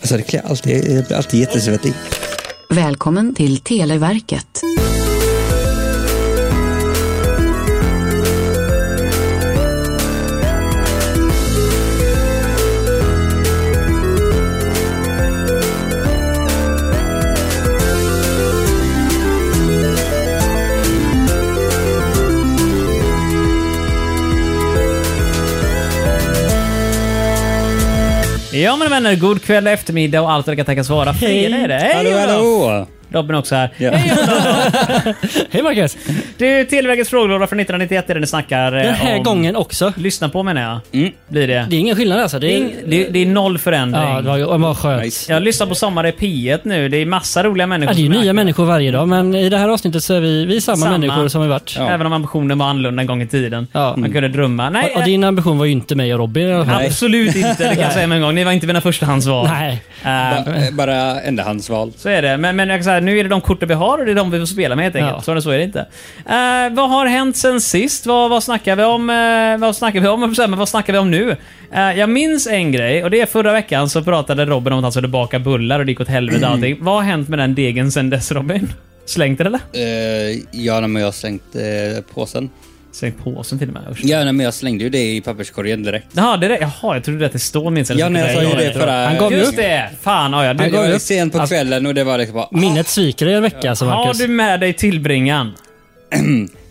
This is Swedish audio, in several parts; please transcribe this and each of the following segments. Alltså det är alltid, jag blir alltid jättesvettig. Välkommen till Televerket. Ja mina vänner, god kväll och eftermiddag och allt verkar tackas vara. Fredag är det. Hej Hallå, Olof! hallå! Robin också här. Ja. Hej Marcus! Du, Televerkets frågelåda från 1991 är det ni snackar eh, Den här om. gången Mm. också. Lyssna på menar jag. Blir det. Det är ingen skillnad alltså. Det Det är... är, det, det är noll förändring. Ja, det var, det var skönt. Nice. Jag lyssnar på Sommar i P1 nu. Det är massa roliga människor. Ja, det är ju som nya här. människor varje dag, men i det här avsnittet så är vi, vi är samma, Samma. människor som vi varit. Ja. Även om ambitionen var annorlunda en gång i tiden. Ja. Man kunde drömma. Nej, eh- Och, och din ambition var ju inte mig och Robin i alla fall. Nej. absolut inte. Det kan jag säga med en gång. Ni var inte mina förstahandsval. Nej. Eh, Ba- Bara ändahandsval. Så är det. Men, men jag kan säga, nu är det de korten vi har och det är de vi får spela med helt enkelt. Ja. Så, så är det inte. Eh, vad har hänt sen sist? Vad, vad snackar vi om? eh, vad snackar vi om? Jag får säga, Men vad snackar vi om nu? Eh, jag minns en grej och det är förra veckan så pratade Robin om att han skulle baka bullar och det gick åt helvete Mm. och allting. Vad har hänt med den degen sen dess Robin? Slängt den eller? Uh, ja, nej, men jag slängde uh, påsen. Slängt påsen till och med. usch. Ja, nej, men jag slängde ju det i papperskorgen direkt. Jaha, det är det. Jaha, jag trodde att det står minst. eller Ja, så. nej, jag sa ju det förra... Han gav ju Just upp. det! Fan har jag. Du, Det var du- ju sent på kvällen och det var liksom bara... Minnet sviker i en vecka alltså har Marcus. du med dig tillbringan?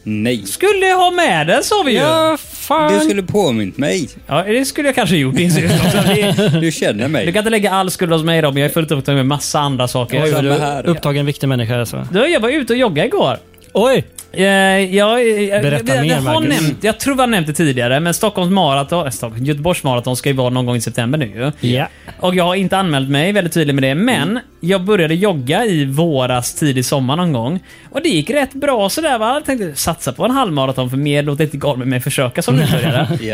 Nej. Skulle jag ha med den sa vi ju! Ja, fan. Du skulle påmint mig. Ja, det skulle jag kanske gjort inser jag också. Det- Du känner Du mig. kan inte lägga all skuld hos mig Robin. Jag är fullt upptagen med massa andra saker. Oj, vad Samma du här. är upptagen viktig människa alltså. Du, jag var ute och joggade igår. Oj! Eh, Jag, jag, Berätta jag, mer, jag, har Marcus. nämnt, jag tror jag har nämnt det tidigare, men Stockholms maraton, eh, Stockholm, Göteborgs maraton ska ju vara någon gång i september nu ju. Ja. Och jag har inte anmält mig, väldigt tydlig med det. Men jag började jogga i våras, tidig sommar någon gång. Och det gick rätt bra sådär va. Jag tänkte satsa på en halvmaraton för mer låter inte galet med mig försöka som nybörjare. Ja.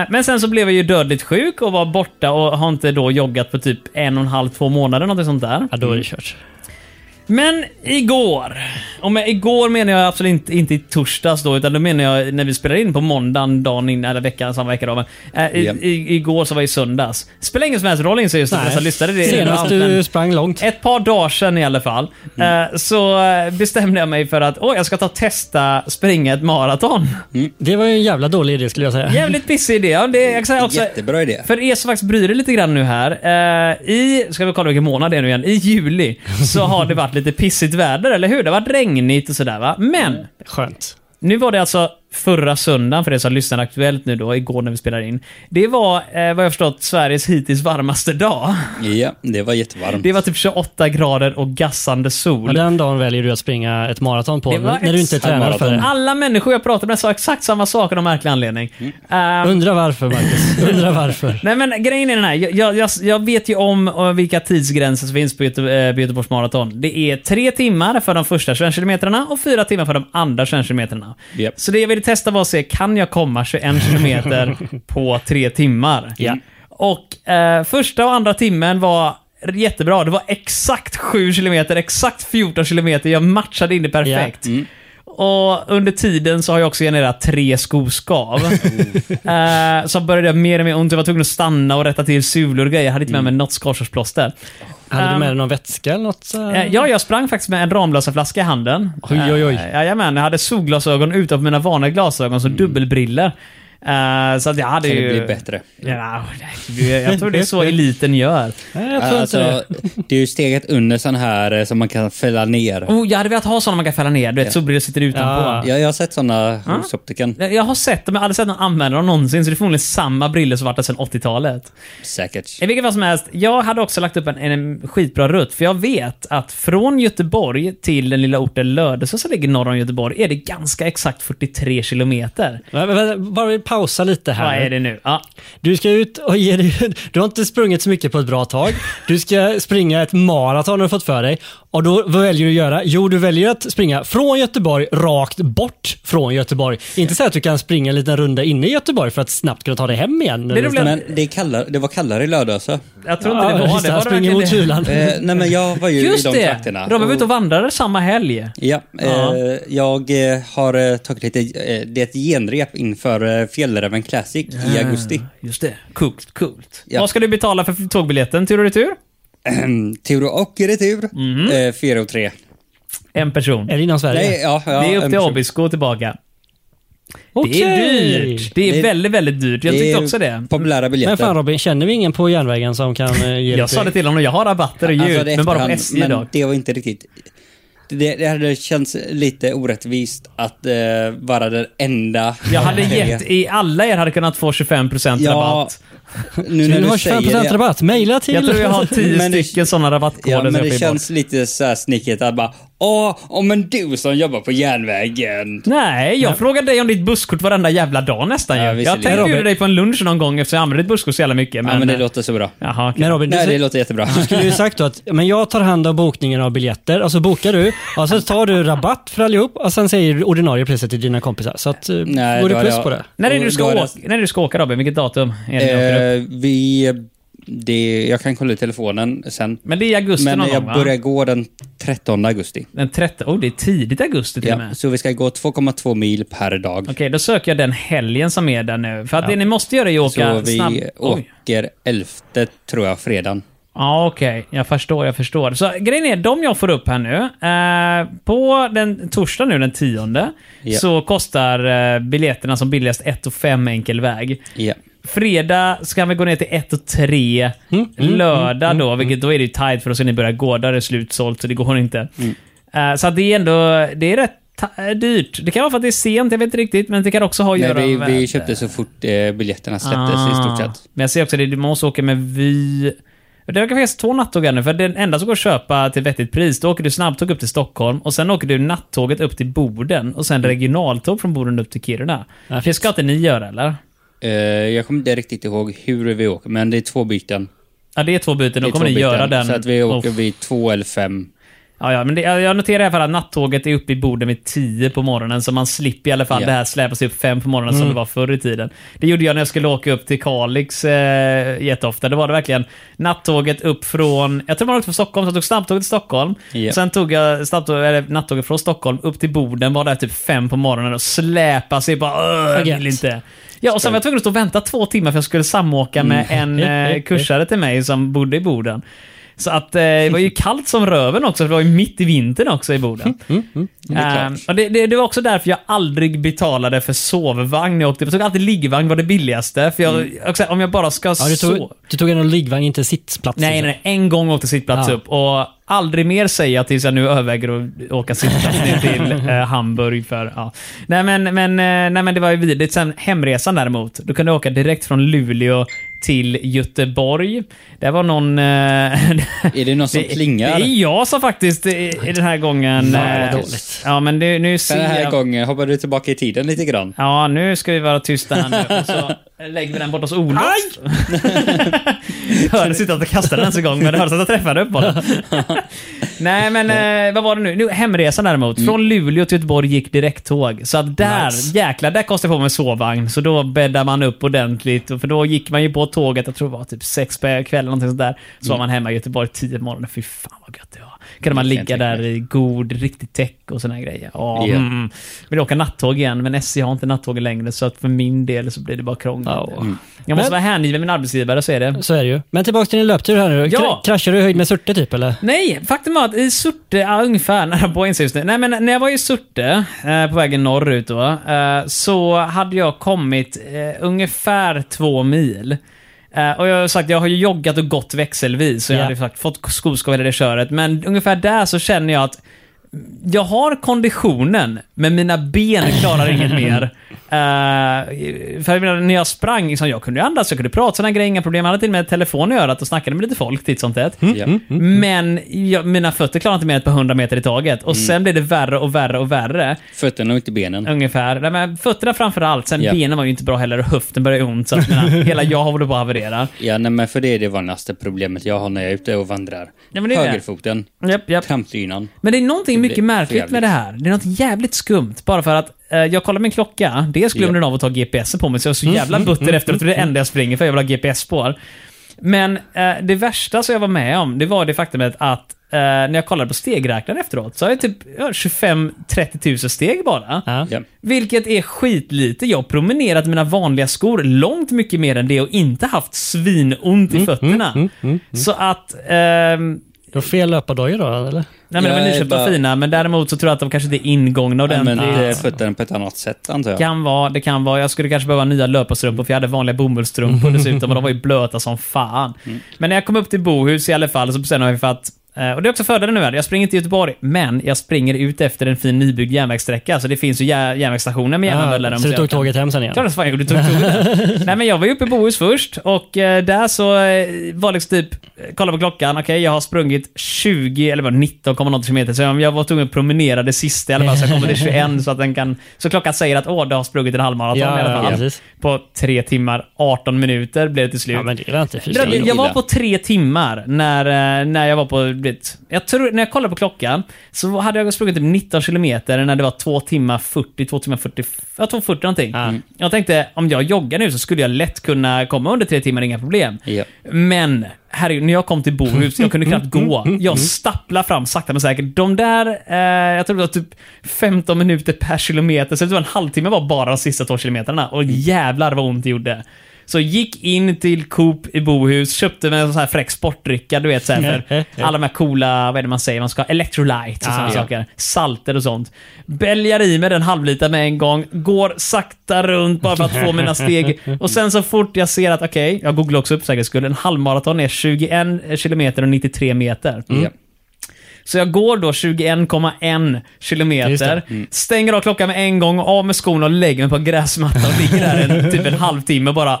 Eh, men sen så blev jag ju dödligt sjuk och var borta och har inte då joggat på typ en och en halv, två månader något sånt där. Ja, då är det kört. Mm. Men igår, och med igår menar jag absolut inte, inte i torsdags då, utan då menar jag när vi spelade in på måndagen, dagen innan, eller veckan, samma vecka då. Men, eh, i, Ja. i, igår så var det i söndags. Spelar ingen som helst roll inser jag just nu, så lyssnade det. Senast du sprang långt. Ett par dagar sedan i alla fall, eh, så eh, bestämde jag mig för att åh, jag ska ta och testa springa ett maraton. Det var ju en jävla dålig idé skulle jag säga. Jävligt pissig idé. Ja, det, jag kan säga också, Jättebra idé. För er som faktiskt bryr er lite grann nu här. Eh, I, ska vi kolla vilken månad det är nu igen, i juli så har det varit lite pissigt väder, eller hur? Det har varit regnigt och sådär va. Men, Skönt. nu var det alltså förra söndagen, för er som lyssnar aktuellt nu då, igår när vi spelar in. Det var, eh, vad jag förstått, Sveriges hittills varmaste dag. Ja, det var jättevarmt. Det var typ 28 grader och gassande sol. Och den dagen väljer du att springa ett maraton på, Det var när du inte är exakt- tränad för det. Alla människor jag pratade med sa exakt samma sak av någon märklig anledning. Mm. Eh, Undra varför Marcus. Undra varför. Nej men grejen är den här. Jag- Jag, jag, jag vet ju om eh, vilka tidsgränser som finns på Göte, eh, på Göteborgs maraton. Det är tre timmar för de första 21 kilometrarna och fyra timmar för de andra 21 kilometrarna. Japp. Så det jag ville testa var att se, kan jag komma 21 kilometer på tre timmar? Ja. Och eh, första och andra timmen var jättebra. Det var exakt 7 kilometer, exakt 14 kilometer. Jag matchade in det perfekt. Och under tiden så har jag också genererat tre skoskav. Eh, så började jag mer och mer ont. Jag var tvungen att stanna och rätta till sulor och grejer. Jag hade inte med mig något skorstensplåster. Hade du Ehm, med dig någon vätska eller något? så- Eh, ja, jag sprang faktiskt med en Ramlösa-flaska i handen. Oj, oj, oj. Eh, jajamän, jag hade solglasögon utanför mina vanliga glasögon, så dubbelbriller. Eh, så att jag hade Kan ju... det bli bättre? Ja, nej, jag tror det är så eliten gör. Nej, jag tror inte det. Alltså, det Mm. är ju steget under sån här eh, som man kan fälla ner. Oh, jag hade velat ha såna man kan fälla ner. Du vet, solbrillor sitter utanpå. Ja. Jag, jag har sett såna hos optiken. Jag- Jag har sett dem, jag har aldrig sett någon använda dem någonsin, så det är förmodligen samma briller som varit där sedan 80-talet. Säkert. I vilket fall som helst, jag hade också lagt upp en, en skitbra rutt, för jag vet att från Göteborg till den lilla orten Lödöse som ligger norr om Göteborg är det ganska exakt 43 kilometer. Men- men- men Bara vi pausa lite Vad här. är det nu? Ja. Du ska ut och ge dig Du har inte sprungit så mycket på ett bra tag. Du ska springa ett maraton har du fått för dig. Och då, vad väljer du att göra? Jo, du väljer att springa från Göteborg rakt bort från Göteborg. Inte så att du kan springa en liten runda inne i Göteborg för att snabbt kunna ta dig hem igen. Det är roligt. Men det, är kallare, det var kallare i lördags. Eh, Jag tror inte det var det. Var det springer verkligen mot det? kylan. nej men jag var ju Just i de det! trakterna. Oh. Robin var ute och vandrade samma helg. Ja, Ja. Eh, jag eh, har eh, tagit lite, eh, det är ett genrep inför eh, Fjällräven Classic i augusti. Just det. Coolt, coolt. Ja. Vad ska du betala för tågbiljetten tur och retur? ehm, tur och retur. Mhm. Eh, fyra och tre. En person. Är det inom Sverige? Nej, ja, ja, det är upp en till person. Abisko och tillbaka. Det är Okej. dyrt. Det är Det- väldigt, väldigt dyrt. Jag Det är tyckte också det. Mm. Populära biljetter. Men fan Robin, känner vi ingen på järnvägen som kan eh, ge lite- Jag sa det till honom, jag har rabatter och Alltså, ljud, det är men bara på efterhand, SJ Men idag. det var inte riktigt... Det, det hade känts lite orättvist att eh, vara den enda... Jag hade gett, i alla er hade kunnat få 25% Ja, rabatt. Nu när Du du har säger 25% det. rabatt. Mejla till... Jag tror jag har 10 Men det- stycken sådana rabattkoder. Ja, men som jag det fick bort. känns lite så här snickigt att bara Åh, oh, men du som jobbar på järnvägen. Nej, jag frågar dig om ditt busskort varenda jävla dag nästan ju. Ja, Jag visserligen. tänkte Robert- bjuda dig på en lunch någon gång eftersom jag använder ditt busskort så jävla mycket. Men, eh, ja, men det låter så bra. Jaha, okej. Men Robin, du, Nej, det du låter jättebra. skulle ju sagt då att men jag tar hand om bokningen av biljetter och så bokar du och så tar du rabatt för allihop och sen säger du ordinarie priset till dina kompisar. Så att, eh, Nej, går det då plus hade jag- på det? När är det Och du ska då är det- åka, när är det du ska åka Robin? Vilket datum är det? du åker upp? Eh, vi... Det, jag kan kolla i telefonen sen. men det är i augusti Men någon jag gång börjar va? gå den 13 augusti. Den 13, oh det är tidigt augusti till och Ja, med. så vi ska gå 2,2 mil per dag. Okej, då söker jag den helgen som är där nu. För att det ni måste göra är att åka Så vi snabb... Oj. åker 11 tror jag, fredagen. Ja, okej. Jag förstår, jag förstår. Så grejen är, de jag får upp här nu. Eh, på den torsdag nu, den tionde, Ja. så kostar eh, biljetterna som billigast 1 och 5 enkel väg. Ja. Fredag ska vi gå ner till 1 och 3. Mm, Lördag då, vilket då är det ju tight för oss när ni börjar gå. Där är det slutsålt, så det går inte. Mm. Eh, så att det är ändå, det är rätt ta- eh, dyrt. Det kan vara för att det är sent, jag vet inte riktigt. Men det kan också ha att Nej, göra vi, med... Ah. vi köpte så fort eh, biljetterna släpptes i stort sett. Men jag ser också det, du måste åka med Vy. Det verkar finnas två nattåg här nu, för den enda som går att köpa till vettigt pris, då åker du snabbtåg upp till Stockholm och sen åker du nattåget upp till Boden och Mm. sen regionaltåg från Boden upp till Kiruna. det ska inte ni göra eller? Eh, jag kommer inte riktigt ihåg hur vi åker, men det är två byten. Ja, det är två byten. Det Då är kommer två ni göra byten, den. Så att vi åker Oh. vid två eller fem. Ja, ja, men det, jag jag noterar i alla fall att nattåget är uppe i Boden vid 10 på morgonen, så man slipper i alla fall Ja. Mm. det här släpas upp 5 på morgonen som det var förr i tiden. Det gjorde jag när jag skulle åka upp till Kalix eh, jätteofta. Det var det verkligen nattåget upp från, jag tror man åkte från Stockholm, så jag tog snabbtåget till Stockholm. Ja. Sen tog jag snabbtåg, eller, nattåget från Stockholm upp till Boden, var där typ 5 på morgonen och släpade sig bara "Åh, jag Gött. vill inte. Ja, och sen var jag tvungen att stå och vänta två timmar för jag skulle samåka Mm. med en eh, kursare till mig som bodde i Boden. Så att eh, det var ju kallt som röven också, för det var ju mitt i vintern också i Boden. det är Eh, klart. och det, det, det var också därför jag aldrig betalade för sovvagn när jag åkte. Jag tog alltid liggvagn var det billigaste, för jag, också, om jag bara ska Ja, du, sova. tog, du tog en liggvagn, inte sittplats. Nej, nej, liksom. nej, en gång åkte sittplats Ja. upp och aldrig mer säga tills jag nu överväger att åka sittplats ner till eh, Hamburg. För, ja. nej, men, men, eh, nej, men det var ju vidrigt. Sen hemresan däremot, då kunde jag åka direkt från Luleå till Göteborg. Det var någon... Eh, Är det någon som klingar? Det är jag som faktiskt i, i den här gången... Fan, vad eh, dåligt. Ja, men det, nu ser Den här jag... gången hoppar du tillbaka i tiden lite grann. Ja, nu ska vi vara tysta här nu. Och så lägger vi den bort hos Olof. Aj! hördes inte att jag kastade den ens en gång, men det hördes att jag träffade den på den. Nej, men eh, vad var det nu? nu hemresan däremot. Från Luleå till Göteborg gick direkttåg. Så att där, Nice. jäklar, där kostade jag på mig sovvagn. Så då bäddade man upp ordentligt. och För då gick man ju på tåget, jag tror det var typ sex på kvällen, någonting sånt där. Så var man hemma i Göteborg tio på morgonen. Fy fan vad gött Mm. det var. Kunde man Det kan jag ligga tänka där mig. i god, riktigt täck och såna här grejer. Ja, Ja. mm. Vill åka nattåg igen, men SJ har inte nattåg längre, så att för min del så blir det bara krångel. Ja. Jag måste Men- vara hängiven min arbetsgivare, så är det. Så är det ju. Men tillbaka till din löptur här nu. Ja. Kra- Kraschar du i höjd med Surte typ eller? Nej, faktum var att i Surte, ja, ungefär nära Boins just nu. Nej men när jag var i Surte, eh, på vägen norrut då, eh, så hade jag kommit eh, ungefär två mil. Eh, och jag har sagt, jag har ju joggat och gått växelvis, så jag Ja. hade sagt, fått skoskav i det köret. Men ungefär där så känner jag att jag har konditionen, men mina ben klarar inget mer. Eh, för jag menar, när jag sprang, liksom, jag kunde ju andas, jag kunde prata, sådana grejer, inga problem. Jag hade till och med telefon i örat och snackade med lite folk titt som tätt. Ja. Men jag, mina fötter klarar inte mer än ett par hundra meter i taget. Och sen blir det värre och värre och värre. Fötterna och inte benen. Ungefär. Nej, men fötterna framför allt. Sen Mm. Ja. benen var ju inte bra heller och höften började göra ont. Så att, mina, hela jag håller på att haverera. Ja, nej, men för det är det vanligaste problemet jag har när jag är ute och vandrar. Ja, men det är det. Högerfoten, Japp, japp. trampdynan. Men det är någonting mycket blir märkligt med förjävligt. det här. Det är något jävligt skumt. Bara för att eh, jag kollar min klocka. Dels glömde Ja. den av att ta GPS på mig, så jag är så jävla butter efteråt. för Det är det enda jag springer för. Jag vill ha GPS-spår. Men eh, det värsta som jag var med om, det var det faktumet att eh, när jag kollade på stegräknaren efteråt, så har jag typ ja, 25-30 000 steg bara. Ja. Ja. Vilket är skitlite. Jag har promenerat i mina vanliga skor långt mycket mer än det och inte haft svinont i fötterna. Så att... ehm, Du har fel löpardojor då, eller? Nej men de är Jag är nyköpta och bara- fina, men däremot så tror jag att de kanske inte är ingångna ordentligt. Använder eh, fötterna på ett annat sätt antar jag. Kan vara, det kan vara. Jag skulle kanske behöva nya löparstrumpor för jag hade vanliga bomullsstrumpor dessutom och de var ju blöta som fan. Men när jag kom upp till Bohus i alla fall så bestämde jag mig för att eh, och det är också fördelen nu, här, jag springer inte till Göteborg, men jag springer ut efter en fin nybyggd järnvägssträcka. Så det finns ju jär- järnvägsstationer med järnvägar. Ja, Ah, så du tog tåget hem sen igen? Klart som fan jag gjorde. Tog tåget. Nej men jag var ju uppe i Bohus först och eh, där så eh, var liksom typ, eh, kolla på klockan, okej jag har sprungit 20, eller var det 19, komma något kilometer. Så jag jag var tvungen att promenera det sista i alla fall så jag kommer till 21 så att den kan, så klockan säger att åh du har sprungit en halvmaraton Ja, i alla ja, fall. precis. på 3 timmar 18 minuter blev det till slut. Ja, men det är väl inte fy Jag, Det fan. är jag var illa. på tre timmar när, eh, när jag var på... du Vet, jag tror, när jag kollade på klockan så hade jag sprungit typ 19 kilometer när det var 2 timmar 40, 2 timmar 40, ja 2.40 någonting. Jag tänkte, om jag joggar nu så skulle jag lätt kunna komma under tre timmar, inga problem. Ja. Men, herregud, när jag kom till Bohus, jag kunde knappt gå. Jag stapplade fram sakta men säkert. De där, eh, jag tror det var typ 15 minuter per kilometer, så det var en halvtimme var bara de sista två kilometerna. Och jävlar vad ont det gjorde. Så gick in till Coop i Bohus, köpte mig en sån här fräck sportdricka, du vet så här för alla de här coola, vad är det man säger, man ska ha electrolyte och såna Ah, ja. saker. Salter och sånt. Bäljar i mig den halvlita med en gång, går sakta runt bara för att få mina steg. Och sen så fort jag ser att, okej, jag googlar också upp för säkerhets skull, en halvmaraton är 21 kilometer och 93 meter. Ja. Så jag går då 21,1 Just kilometer, det. Mm. stänger av klockan med en gång, av med skorna och lägger mig på en gräsmatta och ligger där en, typ en halvtimme och bara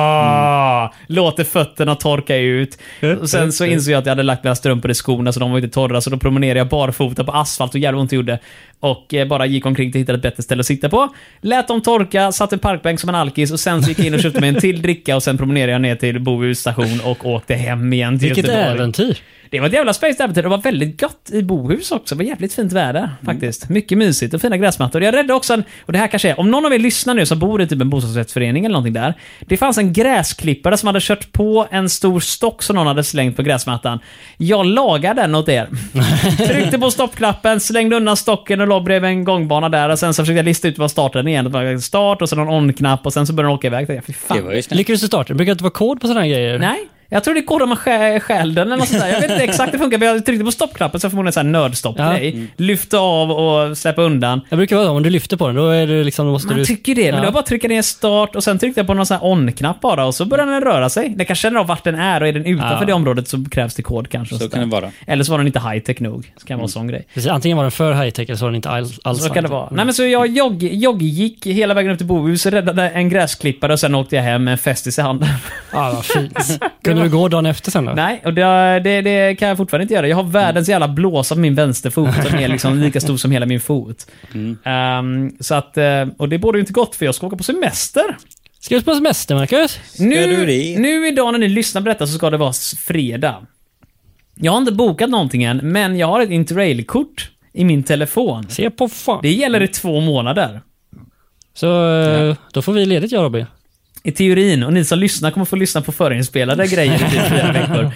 "Åh!" Låter fötterna torka ut. Och sen så insåg jag att jag hade lagt mina strumpor i skorna så de var inte torra så då promenerade jag barfota på asfalt och jävla ont det gjorde. Och eh, bara gick omkring till att hitta ett bättre ställe att sitta på. Lät dem torka, satt i en parkbänk som en alkis och sen så gick jag in och köpte mig en till dricka och sen promenerade jag ner till Bohus station och åkte hem igen till Vilket Göteborg. äventyr. Det var ett jävla space äventyr. Det var väldigt gott i Bohus också. Det var jävligt fint väder Mm. faktiskt. Mycket mysigt och fina gräsmattor. Jag räddade också en, och det här kanske är, om någon av er lyssnar nu som bor i typ en bostadsrättsförening eller någonting där. Det fanns en gräsklippare som hade kört på en stor stock som någon hade slängt på gräsmattan. Jag lagade den åt er. Tryckte på stoppknappen, slängde undan stocken och la bredvid en gångbana där. Och sen så försökte jag lista ut vad starten igen. Det var start och sen en on-knapp och sen så började den åka iväg. Jag tänkte, Fy fan. Det var ju snällt. Lyckades du starta? Det brukar inte vara kod på sådana här grejer. Nej. Jag tror det går om man skär, stjäl den eller något sånt där. Jag vet inte exakt hur det funkar, men jag tryckte på stoppknappen så förmodligen så här nödstopp Ja. nej. Lyfta av och släppa undan. Det brukar vara så, om du lyfter på den, då är det liksom... Då måste Man du... tycker det, men Ja. det var bara att trycka ner start och sen tryckte jag på någon sån här on-knapp bara och så började den röra sig. Den kanske känner av vart den är och är den utanför Ja. det området så krävs det kod kanske. och Så sånt kan det där. vara. Eller så var den inte high-tech nog. Så kan det vara en sån grej. Precis, antingen var den för high-tech eller så var den inte alls alls Mm. Så kan det high-tech. vara. Nej, men så jag jogg, jogggick hela vägen upp till Bohus, räddade en gräsklippare och sen åkte jag hem med en festis i handen. Ja, vad fint. Kunde du gå dagen efter sen då? Nej, och det, det, det kan jag fortfarande inte göra. Jag har världens jävla blåsa på min vänsterfot som är liksom lika stor som hela min fot. Ehm, så att, eh, och det borde ju inte gått för jag ska åka på semester. Ska du på semester, Marcus? du Nu, det? nu idag när ni lyssnar på detta så ska det vara s- fredag. Jag har inte bokat någonting än, men jag har ett interrail-kort i min telefon. Se på fan. Det gäller i två månader. Så eh, då får vi ledigt jag och Robin. I teorin, och ni som lyssnar kommer få lyssna på förinspelade grejer i typ fyra veckor.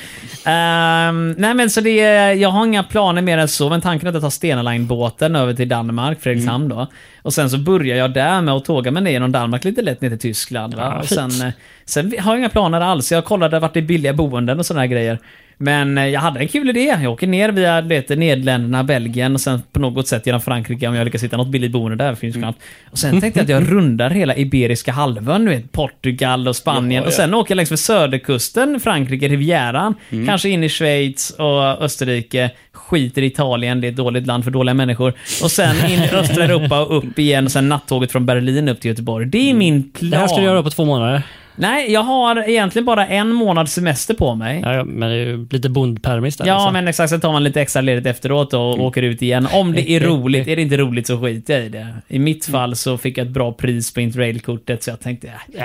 Ehm, nej men så det är, jag har inga planer mer än så, men tanken är att ta Stena Line-båten över till Danmark, Fredrikshamn Mm. då. Och sen så börjar jag där med att tåga mig ner genom Danmark lite lätt ner till Tyskland. Va? Ja, och fint. sen, eh, sen har jag inga planer alls, jag kollade vart det är billiga boenden och sådana grejer. Men eh, jag hade en kul idé. Jag åker ner via du vet, Nederländerna, Belgien och sen på något sätt genom Frankrike om jag lyckas hitta något billigt boende där. Finns Mm. knappt. Och sen tänkte jag att jag rundar hela Iberiska halvön, du vet, Portugal och Spanien. Ja, Och ja. sen åker jag längs med söderkusten, Frankrike, Rivieran. Mm. Kanske in i Schweiz och Österrike. Skiter i Italien, det är ett dåligt land för dåliga människor. Och sen in i östra Europa och upp igen. Och sen nattåget från Berlin upp till Göteborg. Det är min plan. Det här ska du göra på två månader. Nej, jag har egentligen bara en månads semester på mig. Ja, ja, men det är ju lite bondpermis där. Ja, liksom. men exakt. Sen tar man lite extra ledigt efteråt och Mm. åker ut igen. Om det är roligt. Är det inte roligt så skiter jag i det. I mitt Mm. fall så fick jag ett bra pris på Interrail-kortet, så jag tänkte... Äh.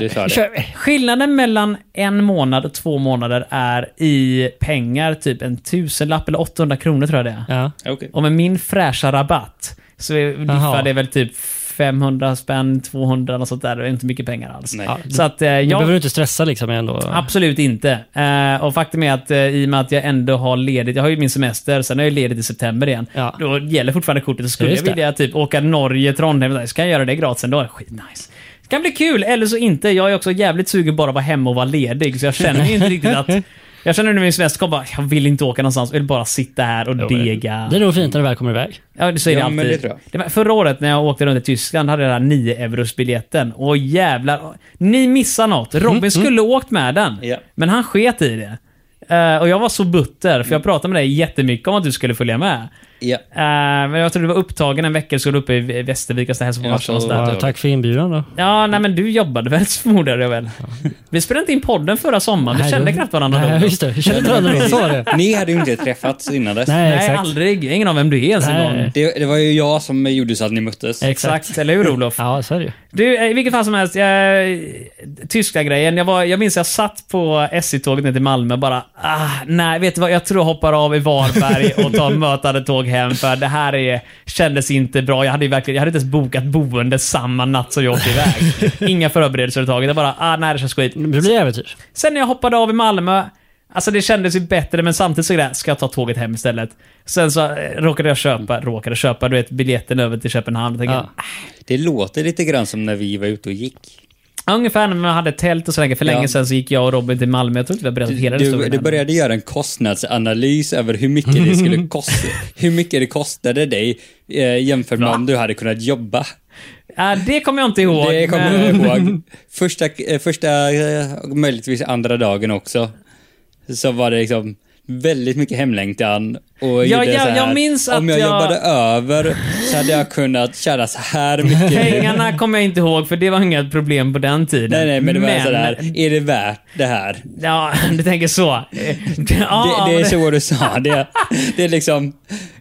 Du sa det. Skillnaden mellan en månad och två månader är i pengar typ en tusenlapp eller 800 kronor tror jag det är. Ja. Okej. Och med min fräscha rabatt så Jaha. diffar det väl typ 500 spänn, 200 och sånt där. Det är inte mycket pengar alls. Nej. Ja, Så att eh, Du jag behöver inte stressa liksom ändå. Absolut inte. Eh, och faktum är att eh, i och med att jag ändå har ledigt, jag har ju min semester, sen har jag ledigt i september igen. Ja. Då gäller fortfarande kortet. Så skulle Just jag vilja typ åka Norge, Trondheim, ska jag göra det gratis ändå? Skitnice. Det kan bli kul, eller så inte. Jag är också jävligt sugen bara att vara hemma och vara ledig, så jag känner ju inte riktigt att... Jag känner nu min semester kommer bara, jag vill inte åka någonstans, jag vill bara sitta här och Jo, men dega. Det är nog fint när du väl kommer iväg. Ja, det säger Ja, det alltid. men det tror jag. Det var- Förra året när jag åkte runt i Tyskland hade jag den här 9 euros biljetten. Åh jävlar. Ni missar något. Robin skulle åkt med den. Ja. Men han sket i det. Eh, och jag var så butter, för jag pratade med dig jättemycket om att du skulle följa med. Ja. Eh, men jag tror du var upptagen en vecka, skulle uppe i V- Västervik och så hälsa på Ja, matchen och så- sådär. Ja, tack för inbjudan då. Ja, nej men du jobbade väl, förmodar jag väl. Vi spelade inte in podden förra sommaren, vi Nej, kände då- knappt varandra då. Nej, just det. Vi kände inte varandra då. Så var det. Ni hade ju inte träffats innan dess. Nej, Nej, exakt. aldrig. Jag har Ingen av vem du är ens en Nej. gång. Det, det var ju jag som gjorde så att ni möttes. Exakt, eller hur Olof? Ja, så är det ju. Du, eh, i vilket fall som helst. Jag, tyska grejen. Jag, var, jag minns jag satt på SJ-tåget ner till Malmö och bara ah, nej, vet du vad? Jag tror jag hoppar av i Varberg och tar mötande tåg hem för det här är, kändes inte bra. Jag hade ju verkligen, jag hade inte ens bokat boende samma natt som jag åkte iväg. Inga förberedelser överhuvudtaget. Jag bara, ah, nej det känns skit. Det blir äventyr. Sen när jag hoppade av i Malmö, alltså det kändes ju bättre men samtidigt så är det, här, ska jag ta tåget hem istället? Sen så eh, råkade jag köpa, råkade köpa, du vet biljetten över till Köpenhamn. Tänkte, Ja. Det låter lite grann som när vi var ute och gick. Ja, Ungefär när man hade tält och sådär. För länge Ja. sedan så gick jag och Robin till Malmö. Jag tror inte vi har berättat hela den Du, historien. du än. började göra en kostnadsanalys över hur mycket det skulle kosta, hur mycket det kostade dig eh, jämfört med om du hade kunnat jobba. Ja, det kommer jag inte ihåg. Det kommer men- jag ihåg. Första, eh, första eh, och möjligtvis andra dagen också, så var det liksom väldigt mycket hemlängtan. Och gjorde ja, så här, jag minns att om jag, jag- jobbade över så hade jag kunnat tjäna så här mycket. Pengarna kommer jag inte ihåg, för det var inga problem på den tiden. Nej, nej, men det var sådär, är det värt det här? Ja, du tänker så. Eh, Ja, det, det är men- så du sa. Det, det är liksom...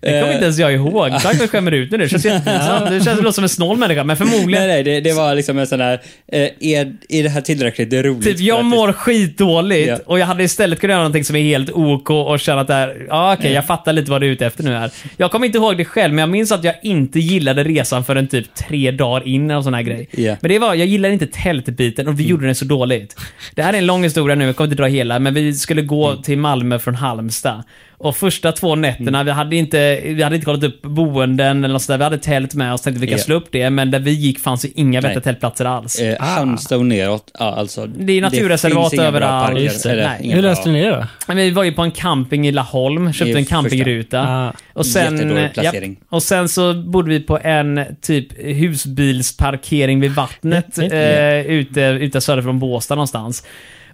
Det kommer eh, inte ens jag ihåg. Tack för att du skämmer ut mig nu. Det känns jätteintressant. Det känns det låter som en snål människa, men Nej, förmodligen. nej, det, det var liksom en sån här, eh, är, är det här tillräckligt roligt? Typ, för jag att- mår skitdåligt Ja. och jag hade istället kunnat göra någonting som är helt OK och känna att det här, ja okej, jag fattar lite vad du är ute efter nu här. Jag kommer inte ihåg det själv, men jag minns att jag inte gillade resan förrän typ tre dagar in och sån här grej. Ja. Mm. Men det var, jag gillade inte tältbiten och vi gjorde den så dåligt. Det här är en lång historia nu, jag kommer inte dra hela, men vi skulle gå Mm. till Malmö från Halmstad. Och första två nätterna, Mm. vi, hade inte, vi hade inte kollat upp boenden eller något sånt där. Vi hade tält med oss, tänkte vi kan Ja. slå upp det, men där vi gick fanns ju inga vettiga Nej. tältplatser alls. Eh, Halmstad och neråt, ja, alltså. Ah. Det är naturreservat finns inga bra överallt. parker, Just det. eller Nej. inga Hur bra- löste ni det då? Men vi var ju på en camping i Laholm, I köpte en första. campingruta. Ah. och sen, eh, Jättedålig placering. japp. och sen så bodde vi på en typ husbilsparkering vid vattnet eh, ute, ute söder från Båstad någonstans.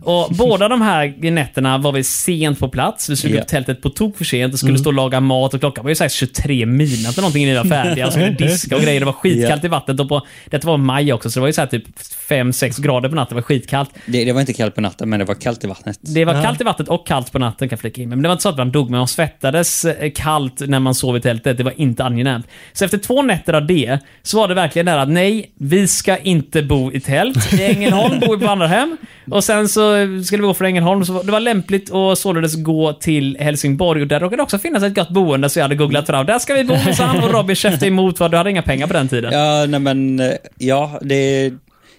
Och båda de här nätterna var vi sent på plats. Vi slog Ja. upp tältet på tok för sent och skulle stå och laga mat och klockan var ju säkert 23 midnatt eller någonting när vi var färdiga. Och skulle diska och grejer. Det var skitkallt i vattnet och på, detta var maj också så det var ju så här typ 5-6 grader på natten. Det var skitkallt. Det, det var inte kallt på natten, men det var kallt i vattnet. Det var kallt i vattnet och kallt på natten kan jag flika in med. Men det var inte så att man dog, men man svettades eh, kallt när man sov i tältet. Det var inte angenämt. Så efter två nätter av det, så var det verkligen där att nej, vi ska inte bo i tält. I Ängelholm bor vi på andra hem. Och sen så skulle vi gå från Ängelholm, så det var lämpligt att således gå till Helsingborg. Och där råkade det också finnas ett gott boende, så jag hade googlat fram. Där ska vi bo minsann. Och Robin käftade emot, för du hade inga pengar på den tiden. Ja, nej men, eh, ja, det...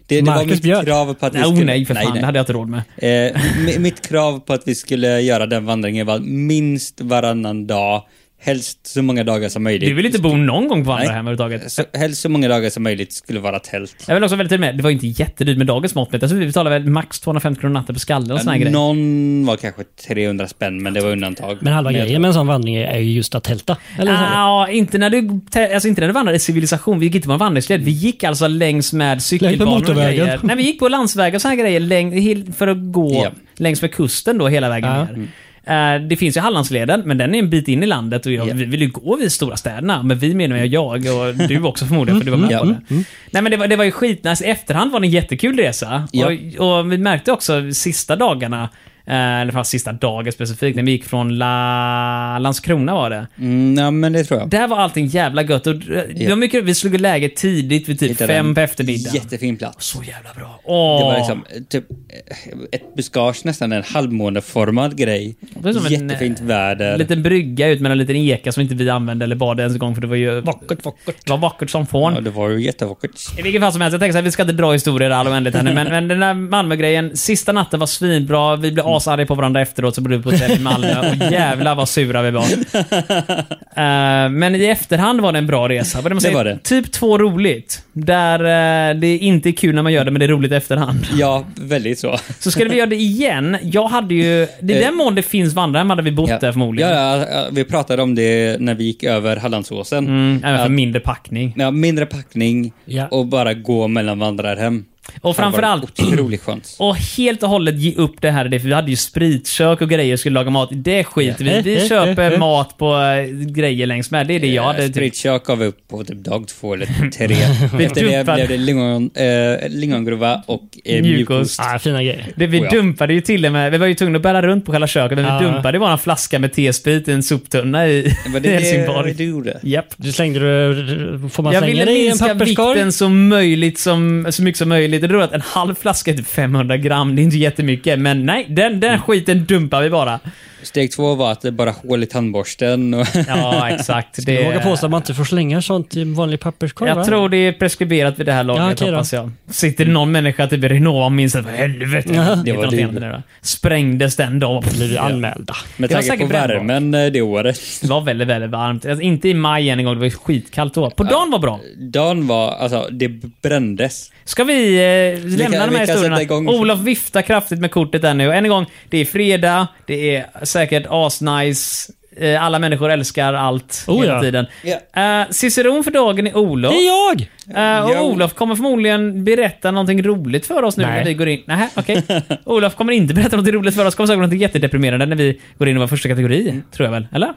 Det, det var Marcus mitt Björk. krav på att vi Nej, oh, skulle... nej, för fan. Det hade jag inte råd med. Eh, mi- mitt krav på att vi skulle göra den vandringen var minst varannan dag, helst så många dagar som möjligt. Du vill inte bo någon gång på andra Nej. hem överhuvudtaget. så, helst så många dagar som möjligt skulle vara tält. Jag vill också väldigt med, det var ju inte jättedyrt med dagens mått mätt. Alltså, vi betalade väl max 250 kronor natten på skallen och såna här grejer. Någon var kanske 300 spänn, men det var undantag. Men halva jag grejen med en sån vandring är ju just att tälta. Eller så här. Ja, inte när du te- alltså inte när du vandrade i civilisation. Vi gick inte på en vandringsled. Vi gick alltså längs med cykelbanor och motorvägen. grejer. Nej, vi gick på landsvägar och såna här grejer läng- hel- för att gå Ja. längs med kusten då hela vägen Ja. ner. Eh, det finns ju Hallandsleden, men den är en bit in i landet och jag, Ja. vi vill ju gå vid stora städerna. Men vi menar jag, jag och du också förmodligen, för du var med Ja. på det. Nej men det var, det var ju skitnice. I efterhand var det en jättekul resa. Ja. Och, och vi märkte också sista dagarna, eh, Eh, det fanns sista dagen specifikt, när vi gick från La... Landskrona var det. Mm, ja, men det tror jag. Där var allting jävla gött. Och, eh, det var mycket, vi slog läge tidigt vid typ Hittade fem en på eftermiddagen. Jättefin plats. Så jävla bra. Åh. Det var liksom eh, typ eh, ett buskage, nästan en halvmåneformad grej. Det är som en, eh, Jättefint väder. En liten brygga ut med en liten eka som inte vi använde eller bad ens en gång för det var ju... Vackert, vackert. Det var vackert som fån. Ja, det var ju jättevackert. I vilket fall som helst, jag tänker så här, vi ska inte dra historier i all oändlighet här nu, men, men den där Malmö-grejen, sista natten var svinbra, vi Mm. blev asarga på varandra efteråt, så bodde vi på hotell i Malmö och jävlar vad sura vi var. Eh, men i efterhand var det en bra resa. Vad man Det säger, var det. Typ två roligt, där eh, det inte är kul när man gör det, men det är roligt i efterhand. Ja, väldigt så. Så skulle vi göra det igen, jag hade ju... I den mån det finns vandrarhem hade vi bott där Eh. förmodligen. Ja, ja, ja, vi pratade om det när vi gick över Hallandsåsen. Mm, även för Att- mindre packning. Ja, mindre packning Ja. och bara gå mellan vandrarhem. Och framförallt- Det var Otroligt skönt. Och helt och hållet ge upp det här, det, för vi hade ju spritkök och grejer och skulle laga mat. Det skiter vi i. Vi köper mat på eh, grejer längs med. Det är det jag hade. tyckt. Spritkök Eh, gav vi upp på typ dag två eller tre. Efter det dumpade. blev det lingon, eh, lingongrova och eh, Mjukost. mjukost. Ah, fina grejer. Det, vi Oh ja. dumpade ju till och med, vi var ju tvungna att bära runt på själva köket, men vi Ja. dumpade ju bara en flaska med T-sprit i en soptunna i, Var i det Helsingborg. det du gjorde? Japp. Du slängde du, får man Jag slänga ville det i en minska papperskorg? vikten så, möjligt som, så mycket som möjligt. Det är att en halv flaska är typ 500 gram, det är inte jättemycket. Men nej, den, den skiten dumpar vi bara. Steg två var att det bara hål i tandborsten. Och Ja, exakt. Jag vågar påstå att man inte får slänga sånt i en vanlig papperskorg Jag va? tror det är preskriberat vid det här laget, Ja, okej då. hoppas jag. Sitter någon människa typ i Renova och minns att "Vad helvete, Ja. det Det var var du. det. Sprängdes den dagen. Blir vi anmälda. med Det var tanke på säkert brännbart. värmen eh, det året. Det var väldigt, väldigt varmt. Alltså, inte i maj än en gång, det var ju skitkallt då. På dagen var bra. Dagen var, alltså det brändes. Ska vi eh, lämna kan- de vi här kan sätta igång. historierna? Olof viftar kraftigt med kortet där nu. Och Än en gång, det är fredag, det är säkert asnice, eh, alla människor älskar allt Oh, hela ja. tiden. Ja. Eh, Ciceron för dagen är Olof. Det är jag! Eh, och Ja. Olof kommer förmodligen berätta någonting roligt för oss nu Nej. när vi går in. Nej, okej. Olof kommer inte berätta någonting roligt för oss. Kommer säkert någonting jättedeprimerande när vi går in i vår första kategori, tror jag väl. Eller?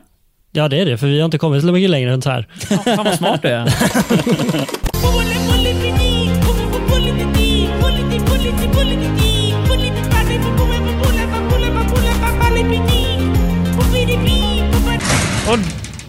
Ja, det är det, för vi har inte kommit så mycket längre än så här. Ja, Fan vad smart du är. Bully, bully, bully, bully, bully, bully, bully, bully, bully, bully, Och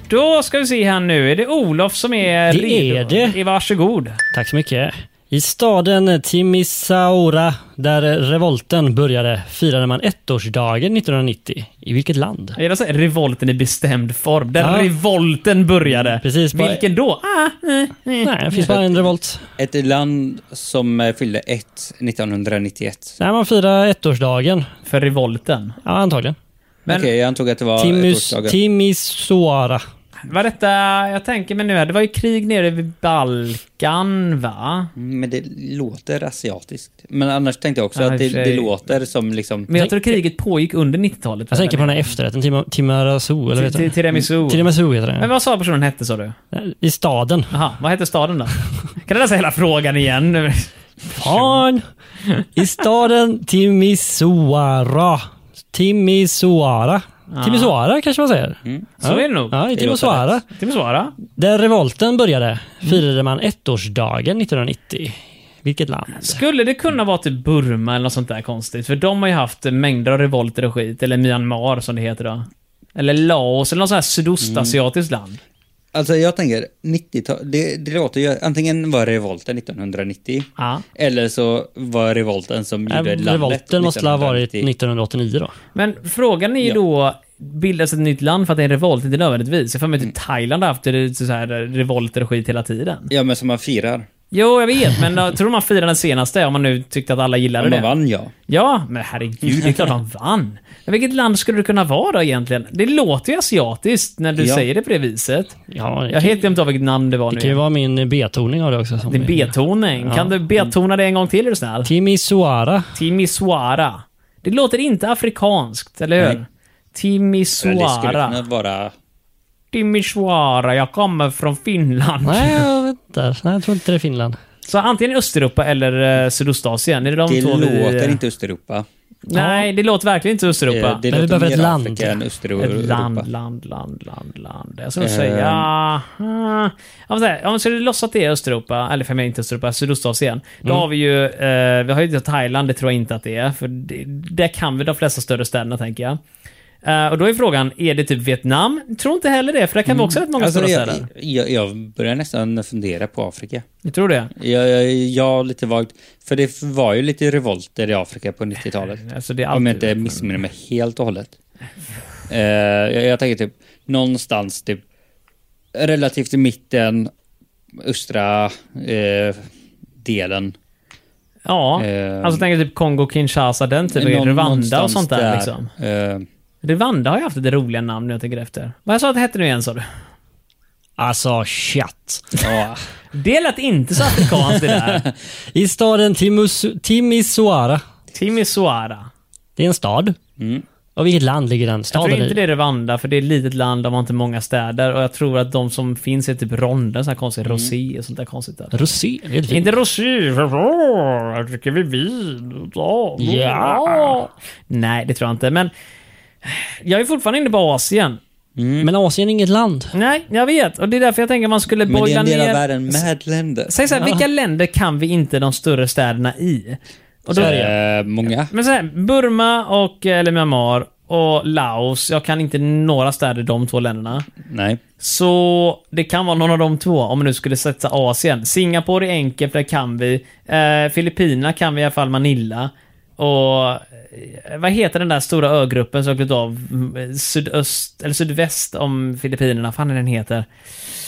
då ska vi se här nu. Är det Olof som är Det redo? är det. Varsågod. Tack så mycket. I staden Timisaura, där revolten började, firade man ettårsdagen 1990. I vilket land? Jag gillar att säga revolten i bestämd form. Där Ja. revolten började. Precis, bara- Vilken då? Ah, eh, eh. Nej, det finns bara en revolt. Ett land som eh, fyllde ett 1991. Nej, man firar ettårsdagen. För revolten. Ja, antagligen. Men- Okej, jag antog att det var Timus, ettårsdagen. Timisoara. Var detta... Jag tänker mig nu här. Det var ju krig nere vid Balkan, va? Mm, Men det låter asiatiskt. Men annars tänkte jag också Ja, i att och det, för sig. det låter som liksom... Men jag tror kriget pågick under 90-talet. Jag tänker på den här efterrätten, Tim- Timarasu, eller Ti- vet ti- du? Mm. Tiramisu. Tiramisu heter Men den. vad sa personen hette sa du? I staden. Aha, vad hette staden då? Kan du läsa hela frågan igen? nu? Fan! I staden Timisoara. Timisoara. Timisoara kanske man säger. Så är det nog. Ja, Mm. i Det låter Timisoara. Till svara. Där revolten Mm. började firade man ettårsdagen 1990. Vilket land? Skulle det kunna vara typ Burma eller något sånt där konstigt? För de har ju haft mängder av revolter och skit. Eller Myanmar som det heter då. Eller Laos eller något sånt här sydostasiatiskt land. Alltså jag tänker, 90-tal, det, det låter ju... Antingen var revolten 1990 Ja. eller så var revolten som gjorde Nej, landet Revolten måste ha varit 1990. 1989 då. Men frågan är ju Ja. då, bildas ett nytt land för att det är en revolt? Inte nödvändigtvis. Jag får mig typ Thailand har haft eh, så här revolter och skit hela tiden. Ja, men som man firar. Jo, jag vet, men jag tror man firade den senaste om man nu tyckte att alla gillade Om det. man vann, Mm. ja. Ja, men herregud, det är klart de vann. Men vilket land skulle det kunna vara då egentligen? Det låter ju asiatiskt när du Ja. säger det på det viset. Ja, Jag har det helt glömt av vilket namn det var kan ju nu. vara min betoning av det också. Som Din betoning. Kan du betona det en gång till är du snäll? Timisoara. Timisoara. Det låter inte afrikanskt, eller hur? Nej. Eller Det skulle kunna Timisoara. vara... Timisoara, jag kommer från Finland. Nej, jag vet inte. Nej, jag tror inte det är Finland. Så antingen Östeuropa eller eh, Sydostasien. Är det de Det två vi... låter inte Östeuropa. Nej, det låter verkligen inte Östeuropa. Eh, Det Men låter vi behöver mer ett land. Afrika än Östeuropa. Ett land, land, land, land, land. Jag skulle Eh. säga... aha. Ja, men så här, Om vi skulle låtsas att det är Östeuropa, eller för mig inte Östeuropa, Sydostasien. Då Mm. har vi ju... Eh, vi har ju inte Thailand, det tror jag inte att det är. För det, där kan vi de flesta större städerna, tänker jag. Eh, och då är frågan, är det typ Vietnam? Jag tror inte heller det, för där kan vi också ha rätt många Alltså, stora jag, städer. jag, jag börjar nästan fundera på Afrika. Ni tror det? Jag, jag, jag lite vagt, för det var ju lite revolter i Afrika på 90-talet. Alltså, det är Om alltid- jag inte missminner mig helt och hållet. Eh, jag, jag tänker typ någonstans typ relativt i mitten, östra eh, delen. Ja. Eh. alltså, tänk typ Kongo-Kinshasa, den typen. Någon- Typ Rwanda och någonstans sånt där, liksom. Eh, Rwanda har ju haft ett roliga namn när jag tänker efter. Vad sa du att det hette nu igen, sa du? Alltså, chatt. ja. Det lät inte så afrikanskt det där. I staden Timus, Timisoara. Timisoara. Det är en stad. Mm. Och vilket land ligger den Jag staden tror inte i? det är Rwanda, för det är ett litet land, de har inte många städer och jag tror att de som finns är typ Ronde, sån här konstig Mm. rosé och sånt där konstigt där. Rosé. Det är ett fint. Inte rosé, här dricker vi vin. Ja. Ja. Nej, det tror jag inte, men jag är fortfarande inne på Asien. Men Asien är inget land. Nej, jag vet. Och det är därför jag tänker man skulle Men det är boila en del av ner... världen med länder. Säg såhär, vilka länder kan vi inte de större städerna i? Och då, Eh, många. Men så här, Burma och eh, eller Myanmar och Laos. Jag kan inte några städer i de två länderna. Nej. Så det kan vara någon av de två om man nu skulle sätta Asien. Singapore är enkelt, för det kan vi. Eh, Filippinerna kan vi i alla fall Manila. Och eh, vad heter den där stora ögruppen som har glömt av mm, sydöst, eller sydväst om Filippinerna? Vad fan är den heter?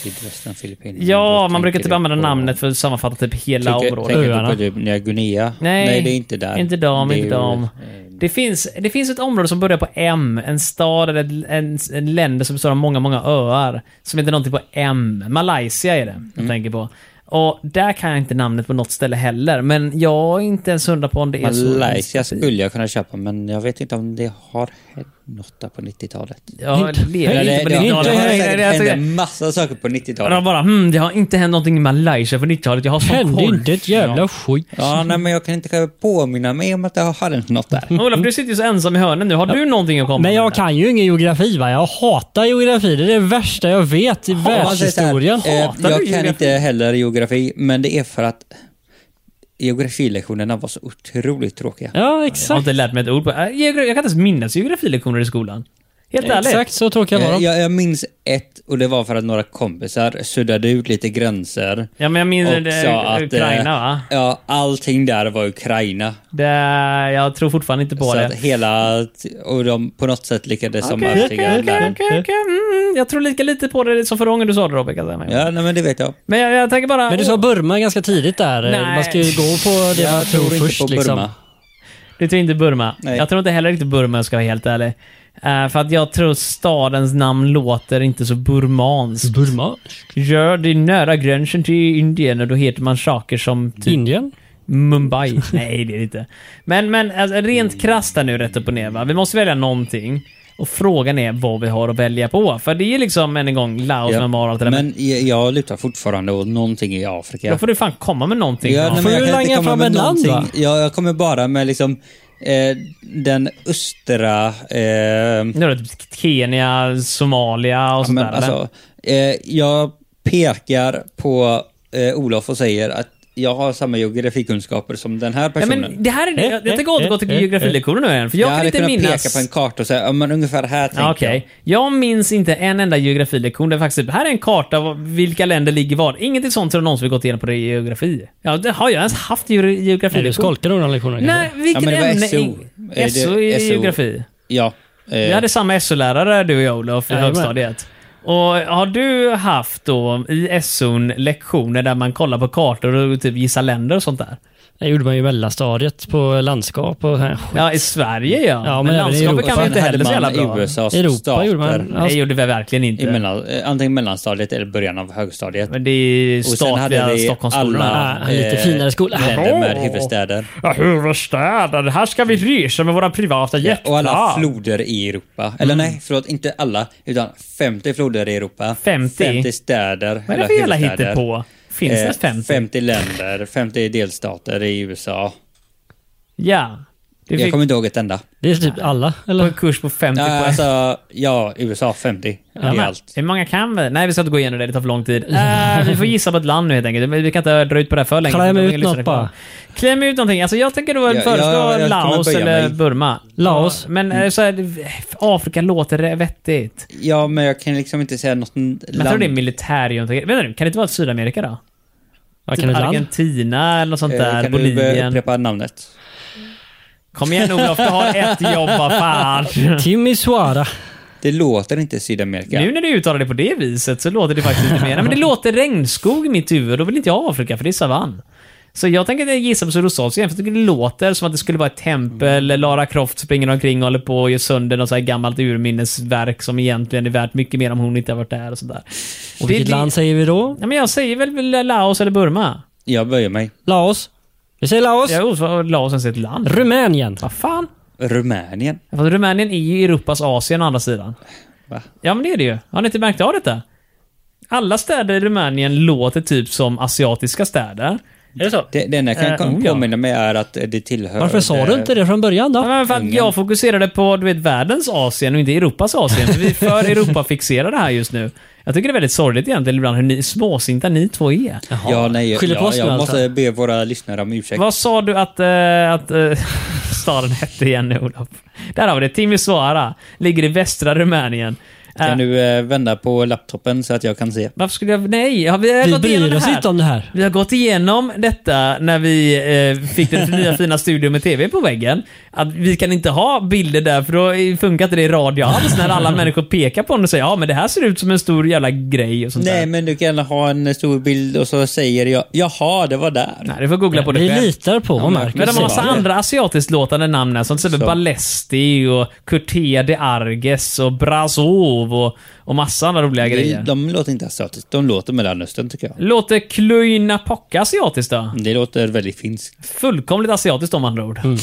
Sydvästen, Filippinerna. Ja, Då man brukar Mm, tänker typ du använda på- namnet för att sammanfatta typ hela Tänker, området. tänker du Öarna. på typ Nya Guinea? Nej, det är inte där. Inte dem, det är inte ju- eh, dem. Det finns, det finns ett område som börjar på M, en stad eller ett- en, en länder som består av många, många öar. Som heter någonting på M. Malaysia är det Mm. jag tänker på. Och där kan jag inte namnet på något ställe heller, men jag är inte ens hundra på om det är så. Malaysia skulle jag kunna köpa, men jag vet inte om det har hänt något där på 90-talet. Ja, Inte- lever Nej, inte det, på det, det- har- 90-talet. det har Nej, nej, säkert jag hänt tycker- en massa saker på De 90-talet. bara hmm, det har inte hänt någonting i Malaysia på 90-talet. Jag har Det sån hände koll. inte ett jävla skit. Ja, nej, men jag kan inte påminna mig om att det har hänt något där. Olof, du sitter ju så ensam i hörnen nu. Har du någonting att komma Men med? jag kan ju ingen geografi va? Jag hatar geografi. Det är det värsta jag vet i Om man säger så här, världshistorien. eh, Hatar jag kan du geografi? inte heller geografi, men det är för att geografilektionerna var så otroligt tråkiga. Ja, Jag har exakt. inte lärt mig ett ord på... Äh, geogra- Jag kan inte ens minnas geografilektioner i skolan. Helt ärligt. Exakt så tråkiga var Eh, de. Jag, jag minns ett och det var för att några kompisar suddade ut lite gränser. Ja, men jag minns Och det- sa att, eh, Ukraina, va? Ja, allting där var Ukraina. Det, jag tror fortfarande inte på Så det. att hela, och de på något sätt lyckades som Okej, övertyga okej, okay, okej, okej, okej. Mm, jag tror lika lite på det som förra gången du sa det Robin. kan jag säga. Ja, nej men det vet jag. Men jag, jag tänker bara... Men du sa Burma ganska tidigt där. Eh, Nej. Man ska ju gå på det man Jag tror tror inte först på Burma. liksom. Du tror inte Burma? Nej. Jag tror inte heller riktigt Burma, ska jag vara helt ärlig. Eh, för att jag tror stadens namn låter inte så burmanskt. Mm. Burma? Ja, det är nära gränsen till Indien och då heter man saker som typ Indien? Mumbai. Nej, det är det inte. Men, men alltså, Mm. rent krasst här nu, rätt upp och ner. Va? Vi måste välja någonting. Och frågan är vad vi har att välja på. För det är liksom, än en gång, Laos, Ja. Myanmar och allt det där. Men Men jag, jag lutar fortfarande åt någonting i Afrika. då får du fan komma med någonting. Ja, Ja, nej, Får men jag du kan inte langa komma fram med ett land, någonting. Ja, jag kommer bara med liksom eh, den östra... Eh, Nu är det typ Kenya, Somalia och Ja, sånt men där. alltså, eh, jag pekar på eh, Olof och säger att jag har samma geografikunskaper som den här Ja, personen. men det här är, jag, jag tänker Eh, återgå till eh, eh, geografilektionen nu igen, för jag, jag kan hade inte kunnat minnas... peka på en karta och säga, ja, men ungefär här tänker Ja, Okej. Jag minns inte en enda geografilektion där faktiskt, typ, här är en karta av vilka länder ligger var. Ingenting sånt tror jag någonsin vi gått igenom på det i geografi. Ja, det har jag ens haft geogra- Nej, du geografilektion? skolkar nog några lektioner Nej, kanske? vilket Ja, men det var ämne? SO. Eh, SO. det- SO i SO. geografi. jag. Ja. Eh, Vi hade samma SO-lärare du och jag Olof i Jajamän. högstadiet. Och har du haft då i SO'n lektioner där man kollar på kartor och typ gissar länder och sånt där? Det gjorde man ju i mellanstadiet på landskap och här. Ja, i Sverige ja. Ja, men men även i landskapet Europa. kan vi inte sen heller så hade jävla man bra. USAs Europa stater. gjorde man. Nej, det gjorde vi verkligen I inte. mellan, eh, antingen mellanstadiet eller början av högstadiet. Men det är Och sen hade statliga ah, vi Stockholmsskolorna. alla eh, Ja, lite finare skola. länder med Åh. huvudstäder. Ja, huvudstäder. Här ska vi resa med våra privata jetplan. Och alla floder i Europa. Eller Mm. nej, förlåt, inte alla, utan 50 floder i Europa. 50? 50 städer. Vad är det eller för jävla huvudstäder. hittepå? Finns Eh, det 50? 50 länder, 50 delstater i USA. Ja. Det Jag fick kommer inte ihåg ett enda. Det är typ alla, på eller? en kurs på 50 Ja, poäng. alltså, ja, USA 50. Ja, det är men, allt. Hur många kan vi? Nej, vi ska inte gå igenom det. Det tar för lång tid. Eh, vi får gissa på ett land nu helt enkelt. Men Vi kan inte dra ut på det här för länge. Kläm för att ut ingen lyssnar något bara. kvar. Kläm ut någonting. Alltså, jag tänker då Ja, föreslå ja, jag kommer Laos böja eller mig. Burma. Laos. Ja, Men eh, så här, Afrika låter det vettigt. Ja, men jag kan liksom inte säga något land. Men jag tror det är militärjuntan. Vänta nu, kan det inte vara Sydamerika då? Vad Typ kan ett land? Argentina eller något sånt Eh, där. Kan du eh, Bolivien. upprepa namnet? Kom igen Olof, du har ett jobb, vad fan. Timisoara. Det låter inte Sydamerika. Nu när du uttalar det på det viset så låter det faktiskt lite mer... Nej, men det låter regnskog i mitt huvud. Då vill inte jag ha Afrika, för det är savann. Så jag tänker inte gissa på Sydostasien, för jag tycker det låter som att det skulle vara ett Mm. tempel, Lara Croft springer omkring och håller på och gör sönder något så här gammalt urminnesverk som egentligen är värt mycket mer om hon inte har varit där och sådär. Och vilket Det- det- land säger vi då? Ja, men jag säger väl- väl Laos eller Burma? Jag böjer mig. Laos. Vi säger Laos. Jag har Laos ens är ett land. Rumänien. Vad fan? Rumänien. Fast Rumänien är ju Europas Asien å andra sidan. Va? Ja men det är det ju. Har ni inte märkt av detta? Alla städer i Rumänien låter typ som asiatiska städer. Är det så? Det, det enda jag kan Eh, kom- oh, ja. påminna mig är att det tillhör... Varför sa du inte det från början Ja, då? men för att jag fokuserade på du vet, världens Asien och inte Europas Asien. För vi är för Europa-fixerade här just nu. Jag tycker det är väldigt sorgligt egentligen ibland hur ni, småsinta ni två är. Ja, nej, Skyller på ja, oss nu jag alltså. måste be våra lyssnare om ursäkt. Vad sa du att, eh, att eh, staden hette igen nu, Olof? Där har vi det. Timisoara. Ligger i västra Rumänien. Eh, Kan du eh, vända på laptopen så att jag kan se? Varför skulle jag... Nej, har vi, Vi gått igenom bryr det oss här? inte om det här. Vi har gått igenom detta när vi eh, fick den nya fina studion med TV på väggen. Att vi kan inte ha bilder där för då funkar inte det i radio alls när alla människor pekar på den och säger ja men det här ser ut som en stor jävla grej och sånt Nej, där. men du kan ha en stor bild och så säger jag jaha, det var där. Nej, du får googla på det Vi själv. litar på Ja, Marcus. men Men de har massa Precis. andra asiatiskt låtande namn här, som till exempel Så. Ballesti och Curtea de Arges och Brasov och, och massa andra roliga De, grejer. de låter inte asiatiskt, de låter Mellanöstern tycker jag. Låter Cluj-Napoca asiatiskt då? Det låter väldigt finskt. Fullkomligt asiatiskt om andra ord. Mm.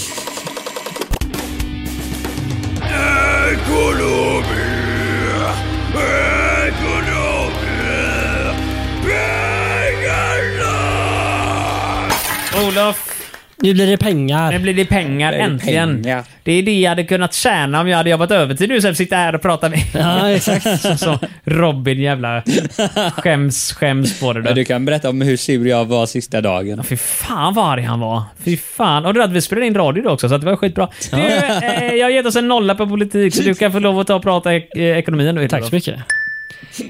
Olof, Nu blir det nu pengar. blir det pengar Det är äntligen. pengar. Det är det jag hade kunnat tjäna om jag hade jobbat övertid nu istället för att sitta här och prata med Ja, exakt. Så- så Robin jävla skäms, skäms på det Men där. du kan berätta om hur sur jag var sista dagen. Fy fan vad arg han var. Fy fan. Och det där att vi spelade in radio då också, så att det var skitbra. Du, eh, jag har gett oss en nolla på politik, så du kan få lov att ta och prata eh, ekonomien nu. Tack så mycket.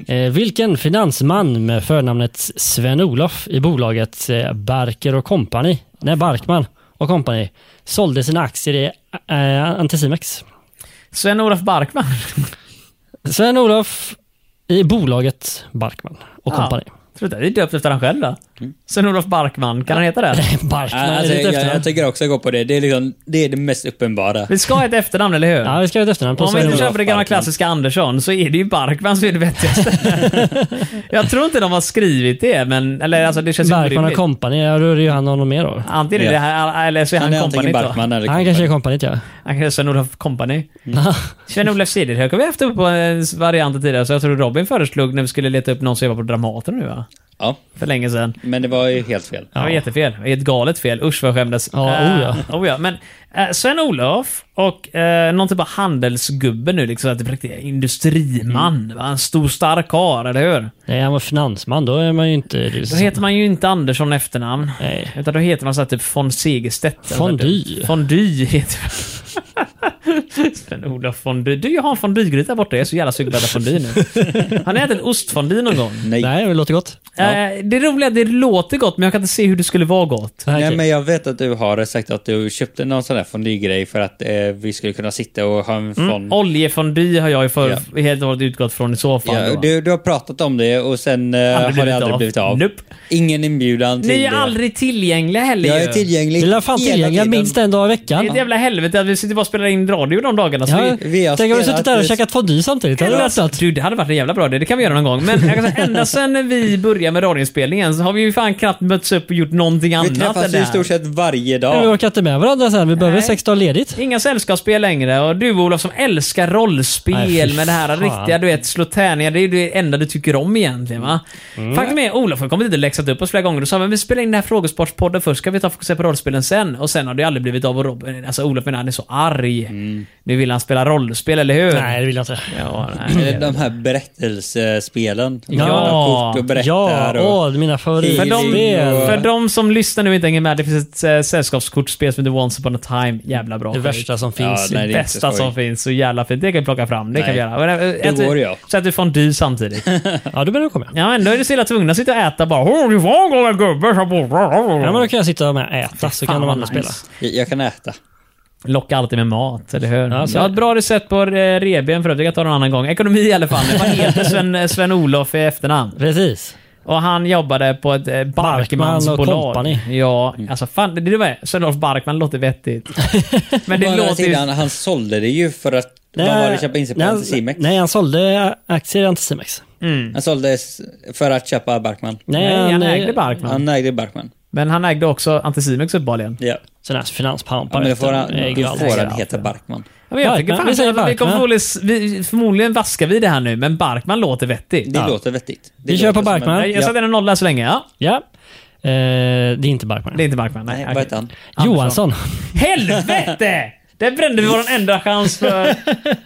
Eh, vilken finansman med förnamnet Sven-Olof i bolaget eh, Barker och Company, nej Barkman och Company, sålde sina aktier i eh, Anticimex? Sven-Olof Barkman. Sven-Olof i bolaget Barkman och Company. Tror du inte det är döpt efter han själv då? Mm. Sven-Olof Barkman, kan han heta det? Barkman är Alltså, det ett jag, jag efternamn. tycker också jag går på det. Det är, liksom, det är det mest uppenbara. Vi ska ha ett efternamn, eller hur? Ja, vi ska ha ett efternamn på Om vi inte Sven-Olof. köper det gamla Barkman. klassiska Andersson så är det ju Barkman som är det vettigaste. jag tror inte de har skrivit det, men... Eller alltså det känns ju Barkman och orimligt. Company, ja då är det ju han och någon mer då. Antingen är det här, eller så är han, Han är kompani antingen då. Barkman eller Han kanske är kompaniet ja. Han kallas Sven-Olof Company. Mm. Sven-Olof Cederhök har vi haft uppe på en variant tidigare, så jag tror Robin föreslog när vi skulle leta upp någon som jobbar på Dramaten nu va? Ja, För länge sedan. men det var ju helt fel. Det var jättefel. Det var Ett galet fel. Usch vad jag skämdes. Ja, Eh, oh ja. oh ja. Men eh, Sven-Olof och eh, någon typ av handelsgubbe nu, liksom att det riktigt industriman. Mm. Va? En stor stark karl, eller hur? Nej, han var finansman, då är man ju inte... det är Då så- heter man ju inte Andersson i efternamn. Nej. Utan då heter man så här typ von Segerstedt. eller Fondy. något sånt. Fondy heter man. Sven-Olof Fondy. Du, jag har en fondygryta där borta. Jag är så jävla sugen på att äta fondy nu. Har ni ätit ostfondy någon gång? Nej. Nej. Nej, det låter gott. Eh, det roliga är att det låter gott, men jag kan inte se hur det skulle vara gott. Nej, okej. men jag vet att du har sagt att du köpte någon sån där fondygrej för att eh, vi skulle kunna sitta och ha Mm. en fond. Oljefondy har jag ju för, helt och hållet utgått från i så fall. Ja, då. du, du har pratat om det och sen eh, Aldrig har blivit det aldrig av. blivit av. Nope. Ingen inbjudan till Ni är det. aldrig tillgängliga heller Jag ju. är tillgänglig Det är fan hela tillgängliga tiden. minst en dag i Det är ett veckan. jävla helvete att vi sitter bara och spelar in radio de dagarna. Så vi, Vi har Tänk om vi spelat suttit där och ett- käkat fondue samtidigt. Det hade varit något. du, det hade varit en jävla bra idé. Det kan vi göra någon gång. Men jag kan säga, ända sen vi började med radioinspelningen så har vi ju fan knappt mötts upp och gjort någonting annat. Vi än träffas det ju i här. stort sett varje Vi dag. orkar inte med varandra sen. Vi behöver Nej. sex dagar ledigt. Inga sällskapsspel längre och du Olof som älskar rollspel Nej, fy med det här fan. riktiga, du vet, slå tärningar, det är ju det enda du tycker om egentligen va? Faktum är, Olof har kommit hit och läxat upp oss flera gånger och sa men vi spelar in den här frågesportspodden först, ska vi ta och fokusera på rollspelen sen? Och sen har det aldrig blivit av och Robin, alltså Olof menar han är så arg. Nu vill han spela rollspel, eller hur? Nej, det vill jag inte. Ja, Eller nej. De här berättelsespelen. Ja. Alla kort och Ja, berättar. och- åh, mina För de, favoritspel. och- för de som lyssnar nu och inte hänger med, det finns ett äh, sällskapskortspel som heter Once upon a time. Jävla bra Det skit. värsta som nej, finns. det är inte bästa skoj. som finns. Så jävla fint. Det kan vi plocka fram. Det kan vi Nej, göra. Men, äh, äter- går jag. Så att du får en dy samtidigt. Ja, då börjar du komma. ja, men då är du så illa tvungen att sitta och äta bara. Åh, det var en gång en gubbe som bodde... Ja, men då kan jag sitta med och äta så kan Fan, de vad andra nice. spela. Jag- Jag kan äta. Locka alltid med mat, eller hur? Ja, jag så är har ett det. bra recept på eh, reben för övrigt. Jag kan ta det någon annan gång. Ekonomi i alla fall. Vad heter Sven, Sven Olof i efternamn? Precis. Och han jobbade på ett eh, Barkman och Barkmansbolag. company. Ja, alltså fan. Det, det var, Sven Olof Barkman låter vettigt. Men Å det andra låter ju... sidan, han sålde det ju för att de var och köpa in sig på nej, Anticimex. Nej, han sålde aktier i Anticimex. Han såldes för att köpa Barkman. Nej, han eh, ägde Barkman. Han ägde Barkman. Men han ägde också Anticimex uppenbarligen. Ja. Sån här Ja, finanspampa. men då får han, Äger då allt. får äger han allt, heta ja. Barkman. Ja, men jag Barkman. tycker fan, Vi säger vi kommer Barkman. förmodligen, vi, förmodligen vaskar vi det här nu, men Barkman låter vettigt. Det låter vettigt. Det Vi kör låter på som en- Barkman. Nej, jag Ja. sätter en nolla så länge. Ja, Ja. Eh, det är inte Barkman. det är inte Barkman. Nej, Nej, okej. vad heter han? Johansson. Helvete! Där brände vi vår enda chans för...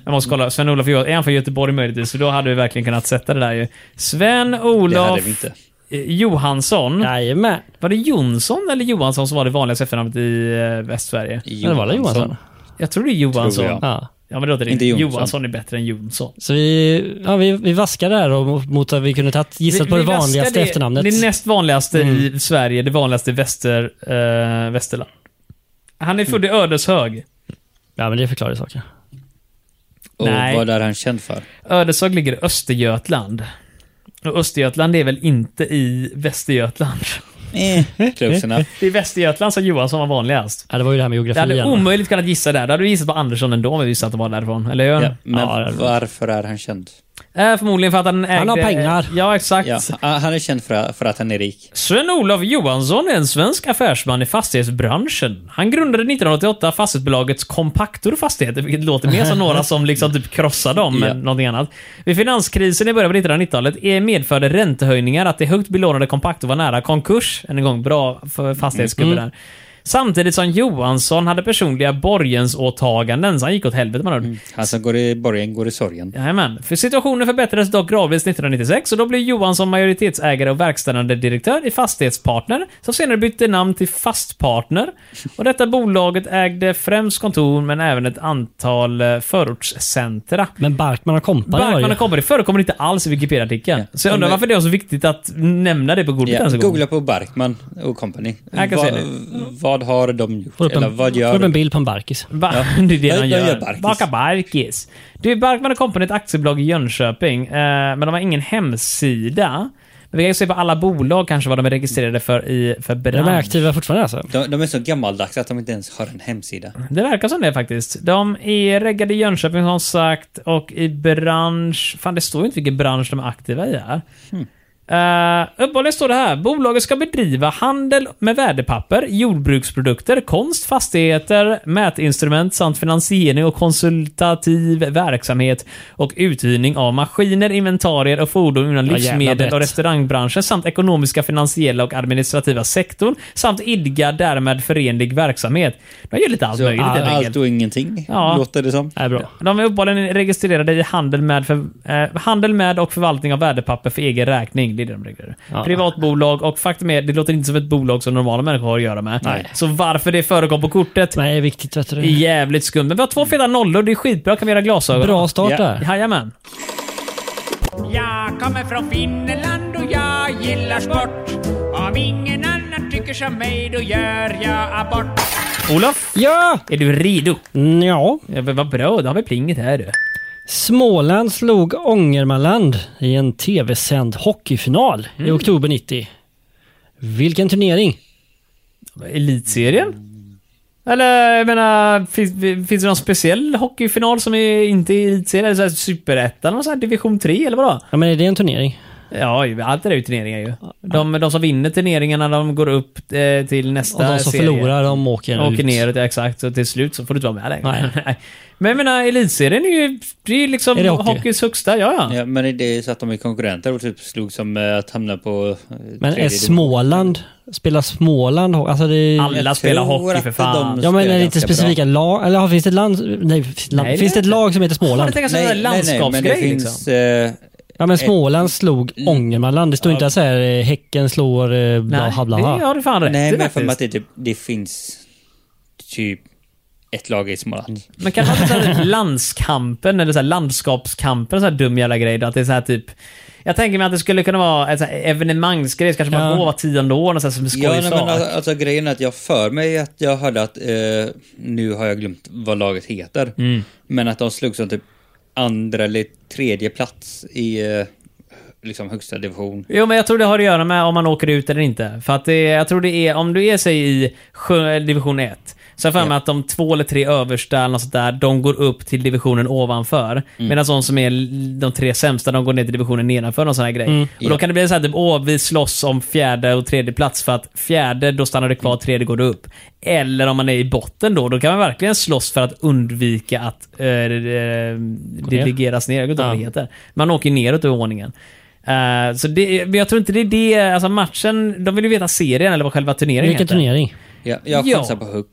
Jag måste kolla. Sven-Olof Johansson. Är han från Göteborg möjligtvis? För då hade vi verkligen kunnat sätta det där ju. Det hade vi Sven-Olof inte. eh, Johansson. Jajamän. Var det Jonsson eller Johansson som var det vanligaste efternamnet i eh, Västsverige? Men Det var väl Johansson? Jag tror det är Johansson. Tror jag. Ja. Ja, men det låter Inte rimligt. Jonsson. Johansson är bättre än Jonsson. Så vi, ja, vi, vi vaskade där och mot- mot att vi kunde tagit gissat på det vaskar vanligaste det, efternamnet. Mm. Det näst vanligaste i Sverige, det vanligaste i väster, eh, Västerland. Han är född Mm. i Ödeshög. Ja, men det förklarar ju saken. Och Nej. vad är han känd för? Ödeshög ligger i Östergötland. Och Östergötland är väl inte i Västergötland? Eh. Close enough. Det är Västergötland som Johansson var vanligast. Ja, det var ju det här med Det geografi hade igen. omöjligt kunnat gissa där. Då hade du gissat på Andersson ändå om vi visste att det var därifrån. Eller hur? Ja, men Ja, det är bra. varför är han känd? Eh, förmodligen för att han ägde... har pengar. Ja, exakt. Ja, ah, han är känd för, att- för att han är rik. Sven-Olof Johansson är en svensk affärsman i fastighetsbranschen. Han grundade 1988 fastighetsbolaget Compactor Fastigheter, vilket låter mer som några som liksom typ krossar dem Ja. än någonting annat. Vid finanskrisen i början av 1990-talet eh, medförde räntehöjningar att det högt belånade Compactor var nära konkurs. Än en gång, bra för fastighetsgubbe där. Samtidigt som Johansson hade personliga borgensåtaganden, så han gick åt helvete man mm. Han som går i borgen går i sorgen. Jajamän. För situationen förbättrades dock gradvis 1996 och då blev Johansson majoritetsägare och verkställande direktör i Fastighetspartner, som senare bytte namn till Fastpartner. Och detta bolaget ägde främst kontor men även ett antal eh, förortscentra. Men Barkman och Company var Barkman ju... och Company förekommer inte alls i Wikipedia-artikeln. Ja. Så jag undrar Men- varför det var så viktigt att nämna det på Googlet Ja, ens en gång. googla på Barkman och company. Jag kan Vad- se det. Vad har de gjort? Får upp, Eller en, vad får gör upp en de? bild på en barkis. Va? Det är det Ja, de de gör gör. barkis. Baka barkis. Du, Barkman Company är ett aktiebolag i Jönköping, eh, men de har ingen hemsida. Men vi kan ju se på alla bolag kanske vad de är registrerade för i för De är bransch. aktiva fortfarande alltså. De, de är så gammaldags att de inte ens har en hemsida. Det verkar som det faktiskt. De är reggade i Jönköping som sagt och i bransch... Fan, det står ju inte vilken bransch de är aktiva i här. Uh, Uppehållligen står det här. Bolaget ska bedriva handel med värdepapper, jordbruksprodukter, konst, fastigheter, mätinstrument samt finansiering och konsultativ verksamhet och uthyrning av maskiner, inventarier och fordon inom Ja, jävla livsmedel och brett. restaurangbranschen samt ekonomiska, finansiella och administrativa sektorn samt idga därmed förenlig verksamhet. De gör lite allt Så möjligt helt enkelt. allt och ingenting, Ja. låter det som. Det är bra. De är uppenbarligen registrerade i handel med, för, eh, handel med och förvaltning av värdepapper för egen räkning. Det är det de reglerar. Ja. Privatbolag och faktum är, det låter inte som ett bolag som normala människor har att göra med. Nej. Så varför det förekom på kortet Nej, det är viktigt vet är du. jävligt skumt. Men vi har två feta nollor, det är skitbra. Kan vi göra glasögon? Bra start Ja. där. Jajamän. Jag kommer från Finland och jag gillar sport. Om ingen annan tycker som mig, då gör jag abort. Olof, Ja! är du redo? Mm, Ja. Ja, men vad bra, då har vi plinget här du. Småland slog Ångermanland i en tv-sänd hockeyfinal Mm. i oktober 90. Vilken turnering? Elitserien? Eller jag menar, finns, finns det någon speciell hockeyfinal som är inte är elitserie? Eller så här superettan och så här division 3 eller vadå? Ja, men är det en turnering? Ja, ju, allt det där är ju turneringar ju. De, de som vinner turneringarna, de går upp eh, till Och nästa de som serie. förlorar, de åker, Åker ut. neråt, ja, exakt. Så till slut så får du inte vara med längre. Nej. Nej. Men jag menar, elitserien är ju det är ju liksom Är det hockey? hockeyns högsta. Ja, ja. Ja, men det är ju så att de är konkurrenter och typ slog som eh, att hamna på... eh, Men är tredje Småland, spelar Småland ho- alltså det är, Alla Jag spelar tror hockey att för fan. de- Ja men är spelar det inte ganska specifika lag? Eller ja, finns det ett land? Nej, finns, land, Nej, det finns det vet jag ett lag som heter Småland? tänker Nej, sån nej, här nej, men det landskapsgrej finns... liksom. eh, Ja men Småland slog Mm. Ångermanland. Det står inte så här eh, Häcken slår eh, bla Nej, bla det bla. har du fan rätt nej, i men jag har för mig att faktiskt. det, typ, det finns typ ett lag i Småland. Men kan det vara så här typ landskampen eller så här landskapskampen, så här dum jävla grej då? Att det är så här typ... Jag tänker mig att det skulle kunna vara en så här evenemangsgrej, så kanske man Ja. går var tionde år, och så här som en Ja, nej, men skojsak. alltså, alltså, grejen är att jag för mig att jag hörde att, eh, nu har jag glömt vad laget heter, Mm. men att de slog som typ andra eller tredje plats i eh, liksom högsta division. Jo, men jag tror det har att göra med om man åker ut eller inte. För att det, jag tror det är, om du är sig i sjö- division 1, så har jag för mig Ja. att de två eller tre översta, eller något sånt där, de går upp till divisionen ovanför. Mm. Medan de som är l- de tre sämsta, de går ner till divisionen nedanför, någon sån här grej. Och då Mm. Ja. kan det bli så här, typ, åh, vi slåss om fjärde och tredje plats för att fjärde, då stannar du Mm. kvar, tredje går du upp. Eller om man är i botten då, då kan man verkligen slåss för att undvika att eh, eh, delegeras ner. Jag vet inte vad det Ja. heter. Man åker ju neråt över ordningen. Eh, så det, men jag tror inte det är det, alltså matchen, de vill ju veta serien eller vad själva turneringen Vilken heter. turnering? Ja, jag Ja. chansar på högt.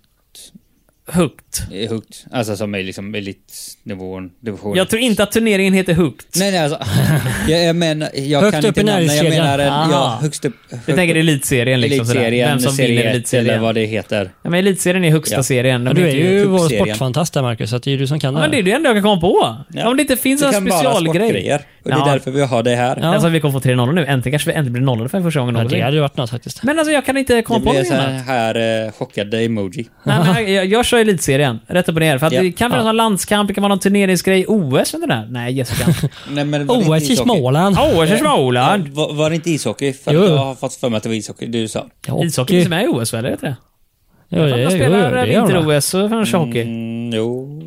Högt. eh, högt. Alltså som är liksom elitnivån, divisionen. Jag tror inte att turneringen heter Högt. Nej, nej alltså. Jag, jag menar, jag Högt kan upp inte i namnen, jag näringskedjan. menar en, ja, Aha. högst upp. Högst Ah. Jag tänker upp. elitserien liksom. sådär. elitserien, Vem som serie vinner ett, elitserien. eller vad det heter. Ja, men elitserien är högsta Ja. serien. De Ja, du är är inte- ju vår kuppserien. sportfantast där Marcus, så att det är ju du som kan Ja, det men det är här. det enda jag kan komma på. Ja. Om det inte finns Det en kan vara specialgrej. sportgrejer. Och det är Ja. därför vi har det här. Alltså vi kommer få 3-0 nu. Äntligen kanske vi äntligen blir nollade för första gången Ja, det någonsin. hade ju varit något faktiskt. Men alltså jag kan inte komma Det på blir något så annat. här eh, chockade emoji. Nej, men jag, jag kör elitserien, rätt upp och ner. För att Ja. det kan vara Ja. någon landskamp, det kan vara någon turneringsgrej. OS eller det där. Nej, Jessica. Nej, men var det inte OS i ishockey? Småland. OS i Ja, Småland. var, var det inte ishockey? För att Jo. jag har fått för mig att det var ishockey. Du sa. Ja, Ishockey finns med i OS väl? Är det inte det? Jo, Fan, det, jo, de jo, det spelar gör de. vinter-OS och fan kör hockey. Mm, jo.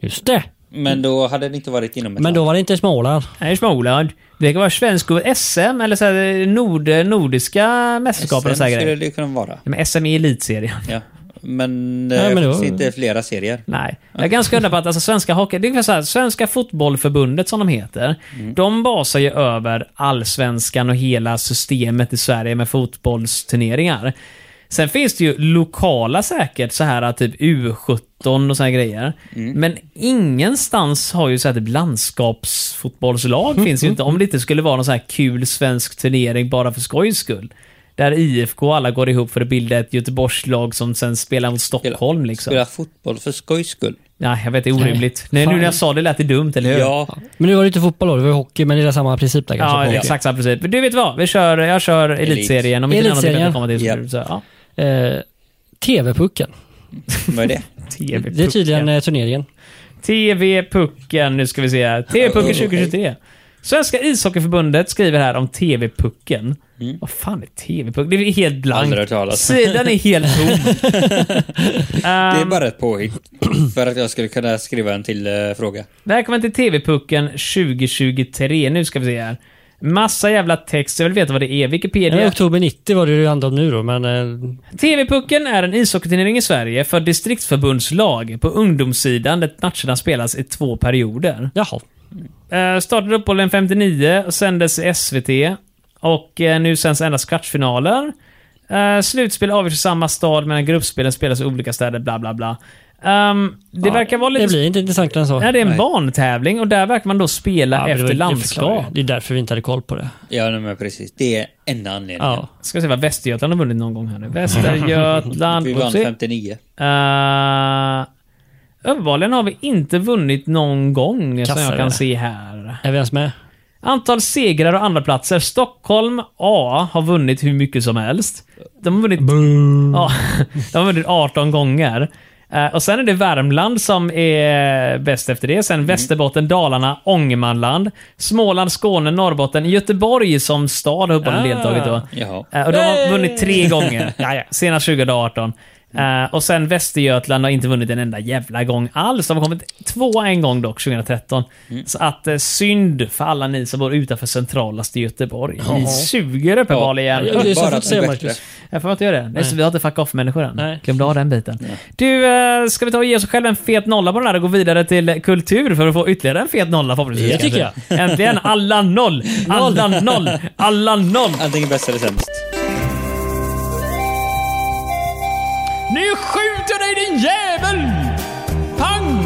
Just det. Men då hade det inte varit inom ett Men land. då var det inte Småland. Nej, i Småland. Det kan vara svensk SM eller så här, nord, nordiska mästerskapen och SM så här skulle grejer. det ju kunna vara. Nej, Men SM är elitserien. Ja. Men, Ja, eh, men då- finns inte flera serier. Nej. Jag är ganska hundra på att alltså, svenska hockey, det är ungefär så här, Svenska fotbollförbundet som de heter, de basar ju över allsvenskan och hela systemet i Sverige med fotbollsturneringar. Sen finns det ju lokala säkert, så här typ U17 och såna här grejer. Men ingenstans har ju så här typ landskapsfotbollslag finns ju inte. Om det inte skulle vara någon så här kul svensk turnering bara för skojs skull. Där IFK och alla går ihop för att bilda ett Göteborgslag som sen spelar mot Stockholm. Liksom. Spela fotboll för skojs skull. Nej, jag vet. Det är orimligt. Nej, Fan. nu när jag sa det lät det dumt, eller hur? Ja. Men nu var det inte fotboll då, det var ju hockey, men det är samma princip där kanske. Ja, på hockey. exakt samma princip. Men Du vet vad? Vi kör, jag kör elitserien. Om inte annat kan Elitserien. jag komma till. Japp. Så, ja. Eh, TV-pucken. Vad är det? Det är tydligen eh, turneringen. TV-pucken. Nu ska vi se här. TV-pucken 2023. Svenska ishockeyförbundet skriver här om TV-pucken. Mm. Vad fan är TV-pucken? Det är helt Aldrig blankt. hört talas. Sidan är helt tom. Det är Ehm, bara ett påhitt. För att jag skulle kunna skriva en till eh, fråga. Välkommen till TV-pucken 2023. Nu ska vi se här. Massa jävla text. Jag vill veta vad det är. Wikipedia. Ja, Eh, oktober 90 var det ju det handlade om nu då, men... Eh, TV-pucken är en ishockeyturnering i Sverige för distriktsförbundslag på ungdomssidan där matcherna spelas i två perioder. jaha. Eh, startade uppehållen 59 och sändes i SVT. Och eh, nu sänds endast kvartsfinaler. Eh, slutspel avgörs i samma stad medan gruppspelen spelas i olika städer, bla bla bla. Ehm, det Ja, verkar vara Det lite... blir inte intressantare än så. Nej, det är en Nej. barntävling och där verkar man då spela Ja, men det var- efter det landskap. förklarar ju. Det är därför vi inte hade koll på det. Ja, nej, men precis. Det är enda anledningen. Ja. Ska se vad Västergötland har vunnit någon gång här nu. Västergötland... Vi vann Oopsie. 59. Uh, uppenbarligen har vi inte vunnit någon gång som Kassare. jag kan se här. Är vi ens med? Antal segrar och andra platser. Stockholm A har vunnit hur mycket som helst. De har vunnit, ja, de har vunnit 18 gånger. Eh, och sen är det Värmland som är bäst efter det. Sen Västerbotten, Dalarna, Ångermanland, Småland, Skåne, Norrbotten, Göteborg som stad har uppenbarligen Ah. deltagit då. Jaha. Eh, Och de har vunnit tre gånger. Senast 2018. Eh, och sen Västergötland har inte vunnit en enda jävla gång alls. De har kommit tvåa en gång dock, 2013. Mm. Så att eh, synd för alla ni som bor utanför centralaste Göteborg. Ni suger uppenbarligen. Ja, det är så Bara jag får att säga, bli bättre. Marcus. Jag får inte göra det. Nej. så Vi har inte fuck off-människor än. Nej. Glömde av den biten. Du, eh, ska vi ta och ge oss själva en fet nolla på den här och gå vidare till kultur för att få ytterligare en fet nolla förhoppningsvis? Det tycker kanske? Äntligen! Alla noll! Alla noll! Alla noll! Antingen bäst eller sämst. Nu skjuter dig din jävel! Pang!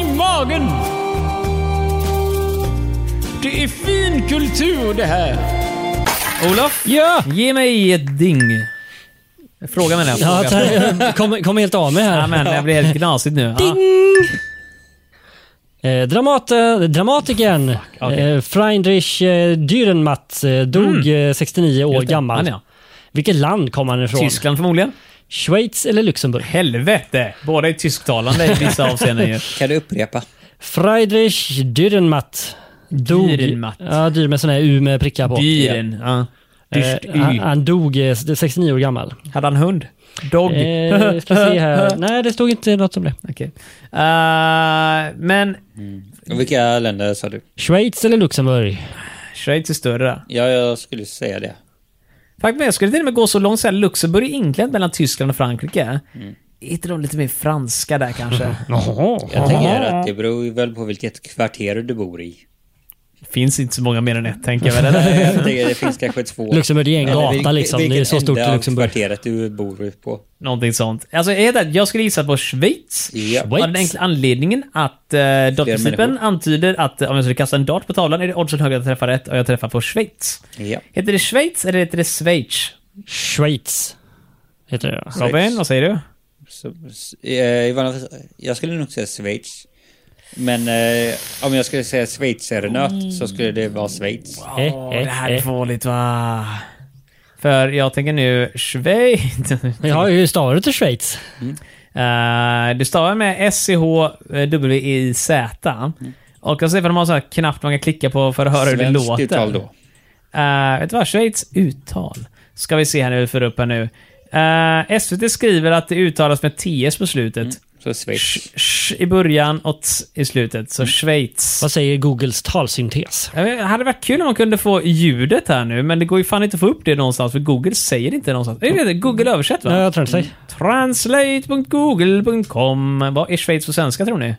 I magen! Det är fin kultur det här. Olof, Ja! ge mig ett ding. Fråga menar jag. ja Fråga. ta- kom, kom helt av mig här. Ja, men jag blir helt gnasigt nu. Ja. Eh, dramat, eh, dramatikern eh, Friedrich eh, Dürrenmatt eh, dog eh, 69 år Mm. Just det. gammal. Han, ja. Vilket land kom han ifrån? Tyskland förmodligen. Schweiz eller Luxemburg? Helvete! Båda är tysktalande i vissa avseenden ju. Kan du upprepa? Friedrich Dürrenmatt dog... Dürrenmatt. Ja, dyr med sån här U med prickar på. Dyren. Ja. Dyrt Eh, han, y. han dog eh, 69 år gammal. Hade han hund? Dog? Eh, ska se här. Nej, det stod inte något om det. Okej. Eh, men Och vilka länder sa du? Schweiz eller Luxemburg? Schweiz är större. Ja, jag skulle säga det. Faktum är, jag skulle till och med gå så långt så här, Luxemburg är inklämt mellan Tyskland och Frankrike. Mm. Är inte de lite mer franska där kanske? Jag tänker att det beror ju väl på vilket kvarter du bor i. Finns inte så många mer än ett, tänker jag väl. eller? Jag tänker det finns kanske två. Luxemburg är en Eller gata, vilket- liksom. Det är vilket så stort i ände av Luxemburg. kvarteret du bor på. Någonting sånt. Alltså, jag, vet, jag skulle gissa på Schweiz. Ja. Av den enkla anledningen att eh, dataprincipen människor. antyder att eh, om jag skulle kasta en dart på tavlan är det oddsen högre att träffa rätt och jag träffar på Schweiz. Ja. Heter det Schweiz eller heter det Schweiz? Schweiz heter det. ja. Robin, vad säger du? Så, s- eh, i vanliga fall- jag skulle nog säga Schweiz. Men eh, om jag skulle säga schweizernöt så skulle det vara Schweiz. Eh, Åh, eh, det här är eh. farligt va? För jag tänker nu Schweiz. Jag har ju stavat till Schweiz. Eh, du stavar med eh, S-C-H-W-E-I-Z. E Och jag ser för de har så här knappt man kan klicka på för att höra hur det Mm. Svenskt låter. uttal då. Eh, vet du vad? Schweiz uttal. Ska vi se här nu, för upp här nu. Eh, SVT skriver att det uttalas med TS på Mm. slutet. Så Schweiz. Sh, sh i början och ts i slutet. Mm. Så Schweiz. Vad säger Googles talsyntes? Jag vet, Det hade varit kul om man kunde få ljudet här nu, men det går ju fan inte att få upp det någonstans, för Google säger inte någonstans. Jag vet inte, Google översätt Nej, va? jag tror inte det. Translate.google.com. Vad är Schweiz på svenska tror ni?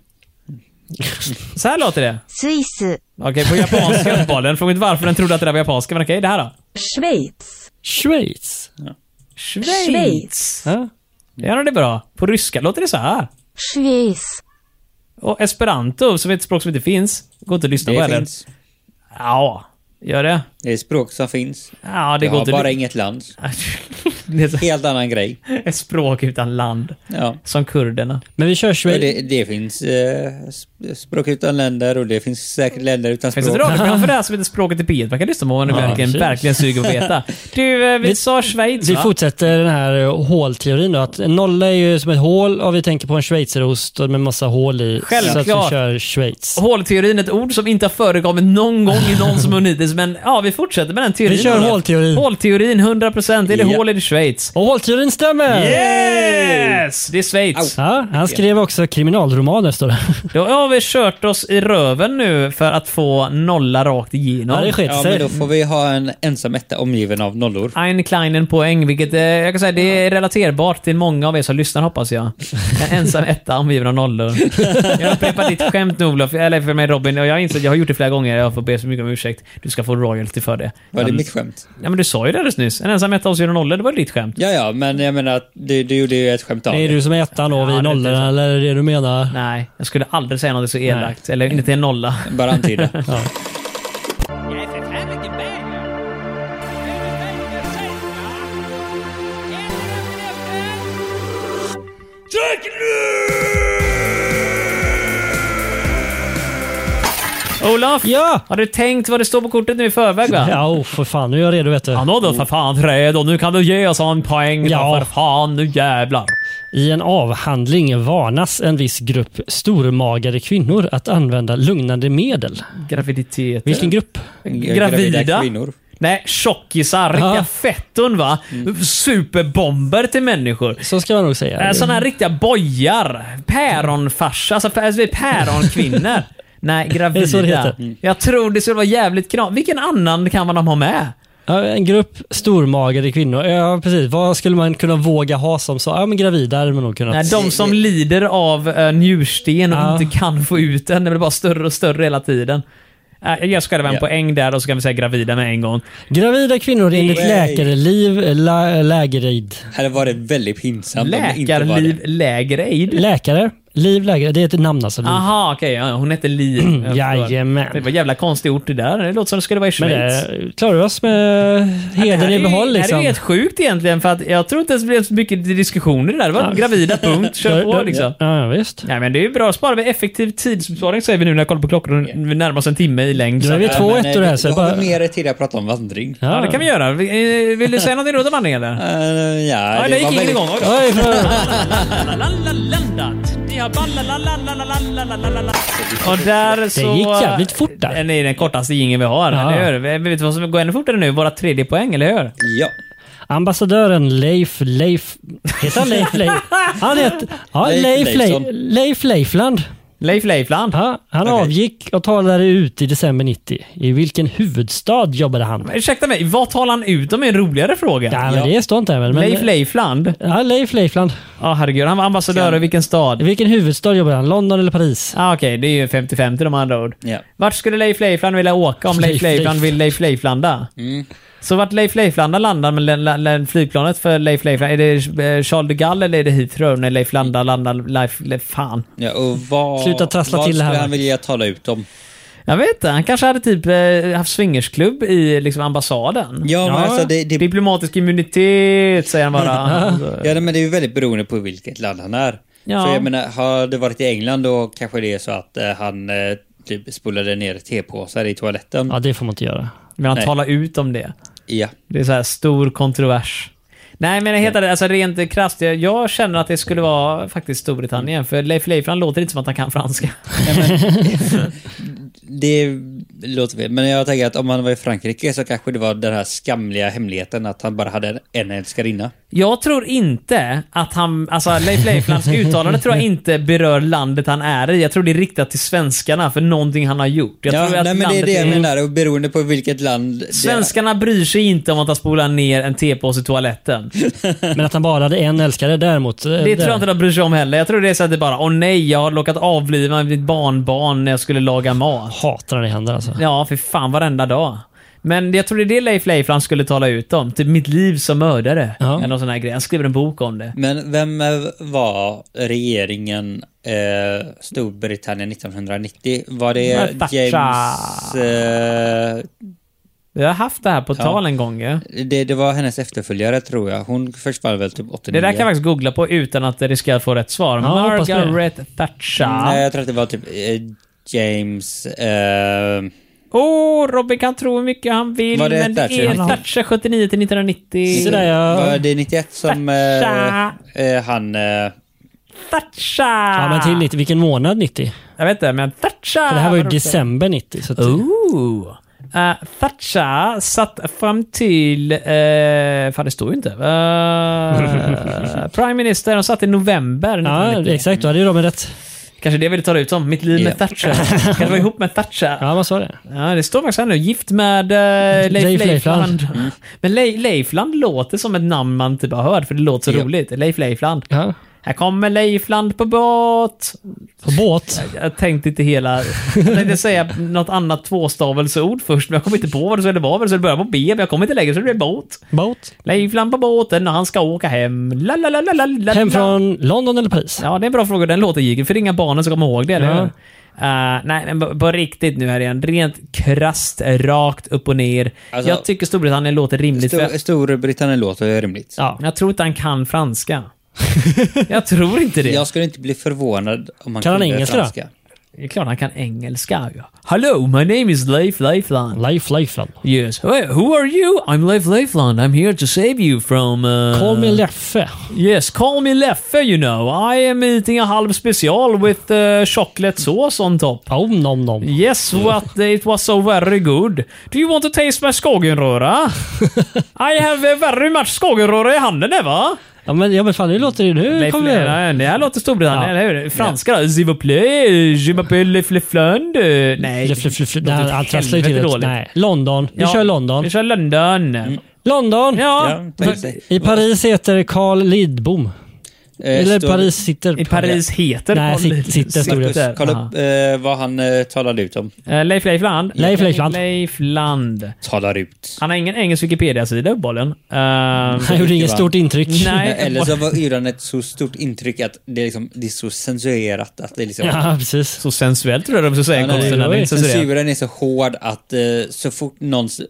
Så här låter det. スイス、 Okej, på japanska uppenbarligen. Fråga inte varför den trodde att det där var japanska, men okej, det här då? シュベイツ、 Schweiz. Schweiz. Ja. Ja, men det är bra. På ryska låter det så här. シュエイス、 Och esperanto, som är ett språk som inte finns, går inte att lyssna på Det heller. finns. Ja, gör det? Det är språk som finns. Ja, det jag går har inte bara inget land. det är så- Helt annan grej. ett språk utan land. Ja. Som kurderna. Men vi kör Och Schweiz. Det, det finns eh, sp- språk utan länder och det finns säkert länder utan Finns det språk. ett radioprogram för det här som heter Språket i P1? Man kan lyssna på vad ni verkligen, precis. verkligen suger på att veta. Du, eh, vi, Vi- sa Schweiz Vi va? fortsätter den här eh, hålteorin då. Att en nolla är ju som ett hål och vi tänker på en schweizerost och med massa hål i. Självklart. Så att vi kör Schweiz. Hålteorin, ett ord som inte har förekommit någon gång i någon som mun hittills, men ja, vi fortsätter med den teorin. Vi kör hålteorin. Hålteorin, 100%. Är det Ja. hål är det Schweiz. Och hålteorin stämmer! Yes! Det är Schweiz. Au. Ja, han skrev också kriminalromaner står det. Då har vi kört oss i röven nu för att få nolla rakt igenom. Ja, det Ja, sket sig. men då får vi ha en ensam etta omgiven av nollor. Ein kleinen poäng, vilket eh, jag kan säga det är relaterbart till många av er som lyssnar hoppas jag. En ensam etta omgiven av nollor. Jag upprepar ditt skämt nu Olof, eller för mig Robin, och jag har insett, jag har gjort det flera gånger, jag får be så mycket om ursäkt. Du ska få royalty för det. Var det Men- mitt skämt? Ja men du sa ju det alldeles nyss, en ensam etta omgiven av nollor, det var ju ditt skämt. Ja, ja, men jag menar att du, du gjorde ju ett skämt av Det är det. du som är ettan och vi Ja, är det är nollorna, precis. eller är det det du menar? Nej, jag skulle aldrig säga något så elakt, eller inte till en nolla. Bara antyda. Jag är för fan inte med. Jag är för fan inte med. Jag är för fan inte med. Olof! Ja! Har du tänkt vad det står på kortet nu i förväg va? Ja, oh, för fan. Nu är jag redo vet du. Ja, nå då för fan Fred, och nu kan du ge oss en poäng ja. Ja. för fan, nu jävlar. I en avhandling varnas en viss grupp stormagade kvinnor att använda lugnande medel. Graviditet. Vilken grupp? Gravida Gravida. kvinnor. Nej, tjockisar. Riktiga Ja. Mm. fetton va? Superbomber till människor. Så ska man nog säga. Äh, Sådana här riktiga bojar. Päronfarsa. Alltså, alltså vi är päronkvinnor. Nej, Är det så det gravida. heter? Mm. Jag tror det skulle vara jävligt knappt. Vilken annan kan man ha med? Ja, en grupp stormagade kvinnor. Ja, precis. Vad skulle man kunna våga ha som så? Ja, men gravida hade man nog kunnat. Nej, de som lider av uh, njursten och Ja. inte kan få ut den. Den blir bara större och större hela tiden. Äh, jag ger oss själva en Ja. poäng där och så kan vi säga gravida med en gång. Gravida kvinnor enligt Nej. läkarliv, la, lägerid. Hade varit väldigt pinsamt om det inte var Läkarliv det. lägre aid. Läkare. Liv, lägare. Det är ett namn alltså. Liv. Aha, okej. ja, hon hette Liv. Jag förstår. Mm, Jajamän. Det var jävla konstigt ort det där. Det låter som det skulle vara i Men Schweiz. det klarar vi oss med Det här hedern är i ju- behåll Det här är liksom. ju helt sjukt egentligen för att jag tror inte ens det blev så mycket diskussioner där. Det var Ja. gravida, punkt, kör på Ja, liksom. Ja, ja, visst. Nej men det är ju bra, sparar vi effektiv tidsbesparing säger vi nu när jag kollar på klockan. Vi närmar oss en timme i längd. Då Så. är vi Ja, två Men, eh, ettor här. Så vi- jag vi har bara, mer tid att prata om vandring. ja, det kan vi göra. Vi- eh, Vill du säga någonting då om vandringen eller? Eh, ja, Ja, det, det var gick väldigt... ingen igång. Oj då. Oj, för... Och där så... gick jävligt fort där. Den är den kortaste jingeln vi har, Ja. eller hur? Vi vet vad som går ännu fortare nu? Våra tredje poäng, eller hur? Ja. Ambassadören Leif Leif... Heter han Leif Leif? Han heter... Ja, Leif Leif Leif, Leifsson. Leif Leifland. Leif Leifland. Ja, han avgick och talade ut i december 90. I vilken huvudstad jobbade han? Ursäkta mig, vad talar han ut om är en roligare fråga? Ja, men det står inte här. Men, Leif Leifland? Ja, Leif Leifland. Ja, herregud. Han var ambassadör i vilken I stad? vilken huvudstad jobbade han? London eller Paris? Ah, Okej, det är ju 50-50 de andra ord. Ja. Vart skulle Leif Leifland vilja åka om Leif Leif Leifland Leif. vill Leif Leiflanda? Mm. Så vart Leif Leiflanda landar med le- le- le- flygplanet för Leif Leifland? Är det eh, Charles de Gaulle eller är det Heathrow när Leif Landa landar? Leif, Leif, fan. ja och vad, Sluta trassla vad till det här. skulle han vilja tala ut om? Jag vet inte, han kanske hade typ eh, haft swingersklubb i liksom ambassaden. Ja, men alltså det- det- Diplomatisk immunitet säger han bara. Alltså, Ja, men det är ju väldigt beroende på vilket land han är. Ja. Så jag menar, har det varit i England då kanske det är så att eh, han eh, typ spolade ner tepåsar i toaletten. Ja, det får man inte göra. Men han Nej. talar ut om det. Ja. Det är så här stor kontrovers. Nej, men jag heter det, alltså rent eh, krasst, jag, jag känner att det skulle vara faktiskt Mm. Storbritannien. För Leif Leifland låter inte som att han kan franska. Det låter fel, men jag tänker att om han var i Frankrike så kanske det var den här skamliga hemligheten att han bara hade en- en älskarinna. Jag tror inte att han, alltså Leif Leiflands uttalande tror jag inte berör landet han är i. Jag tror det är riktat till svenskarna för någonting han har gjort. Jag ja, tror att nej, men det är landet det jag menar, och beroende på vilket land det är. Svenskarna bryr sig inte om att han spolar ner en tepåse i toaletten. Men att han bara hade en älskare däremot. eh, Det tror jag inte de bryr sig om heller. Jag tror det är så att det är bara, åh nej, jag har råkat avliva mitt barnbarn när jag skulle laga mat. Hatar när det händer alltså. Ja, för fan varenda dag. Men jag tror det är det Leif Leifland skulle tala ut om. Typ mitt liv som mördare. Ja. Eller någon sån här grej. Han skriver en bok om det. Men vem eh, var regeringen eh, Storbritannien 1990? Var det Nej, Thatcher. James... Eh, Vi har haft det här på tal en gång ju. det, det var hennes efterföljare tror jag. Hon försvann väl typ 89? Det där kan jag faktiskt googla på utan att riskera att få rätt svar. Ja, hoppas det. Mm. Margaret Thatcher. Nej, jag tror att det var typ eh, James... Eh, Åh, oh, Robin kan tro hur mycket han vill, Var det men det Thatcher? är Thatcher 79 till 1990. Så där, ja. Var det 91 som eh, eh, han... Eh, Thatcher! Ja, men till 90. Vilken månad 90? Jag vet inte, men Thatcher! För det här var ju Ah. vad roligt. december 90. Så att, Ooh. Eh, Thatcher satt fram till... Uh, fan, det står ju inte. Eh, Prime Minister, de satt i november ja, 1990. exakt. Då hade ju Robin rätt. Kanske det vill du ta ut som. Mitt liv Ja. med Thatcher. Kanske vara ihop med Thatcher. Ja. Ja, man sa det. det står faktiskt här nu. Gift med eh, Leif, Leif Leifland. Leifland. Men Le Leifland låter som ett namn man typ har hört, för det låter så Ja. roligt. Leif Leifland. Ja. Här kommer Leifland på båt. På båt. Jag tänkte inte hela... Jag tänkte säga något annat tvåstavelseord först, men jag kom inte på vad det skulle vara. Så det började på B, men jag kom inte längre så det blev båt. Båt. Leifland på båten när han ska åka hem. La, la, la, la, la, la, Hem la. från London eller Paris? Ja, det är en bra fråga. Den låten gick. För inga barnen som kommer ihåg det, eller Ja. hur? Eh, nej, men på, på riktigt nu här igen. Rent krasst, rakt upp och ner. Alltså- jag tycker Storbritannien låter rimligt. för Stor, Storbritannien låter ju rimligt. Ja. jag tror inte han kan franska. jag tror inte det. Jag skulle inte bli förvånad om han Kan han kunde engelska då? franska. Det är klart han kan engelska ju. Hello, my name is Leif Leifland. Life, life. Yes. Hey, who are you? I'm Leif Leifland. I'm here to save you from... Uh... Call me Leffe. Yes, call me Leffe you know. I am eating a halv special with uh, chocolate sauce on top. Oh, nom, nom. Yes, what it was so very good. Do you want to taste my skogenröra? I have a very much skogenröra i handen här va? Ja, men, ja, men fan, hur låter det nu? Leif Kom igen. Leifland, det här låter Storbritannien, Ja. eller hur? Franska då? S'il vous plaît, je m'appelle Leif Leifland. Nej. Fl- fl- fl- Nej, han trasslar ju helvete till det. dåligt. Nej, London. Vi Ja, kör London. Mm. Vi kör London. London! Ja. Ja, precis. I Paris heter Carl Lidbom. Eh, Eller står- Paris sitter... I Paris heter Nej, Carl- sit- sitter stod det. Marcus, kolla Aha. upp eh, vad han eh, talade ut om. Eh, Leif Leifland. Leif Leifland. Leifland. Talar ut. Han har ingen engelsk Wikipedia-sida uppenbarligen. Uh, Han gjorde inget stort intryck. Nej. Eh, Eller så var yran ett så stort intryck att det är, liksom, det är så censurerat att det är liksom... Ja, precis. så sensuellt tror jag de skulle säga Ja, i nej, konsten. när det oj. inte censurerat. Censuren är så hård att eh, så fort någon s-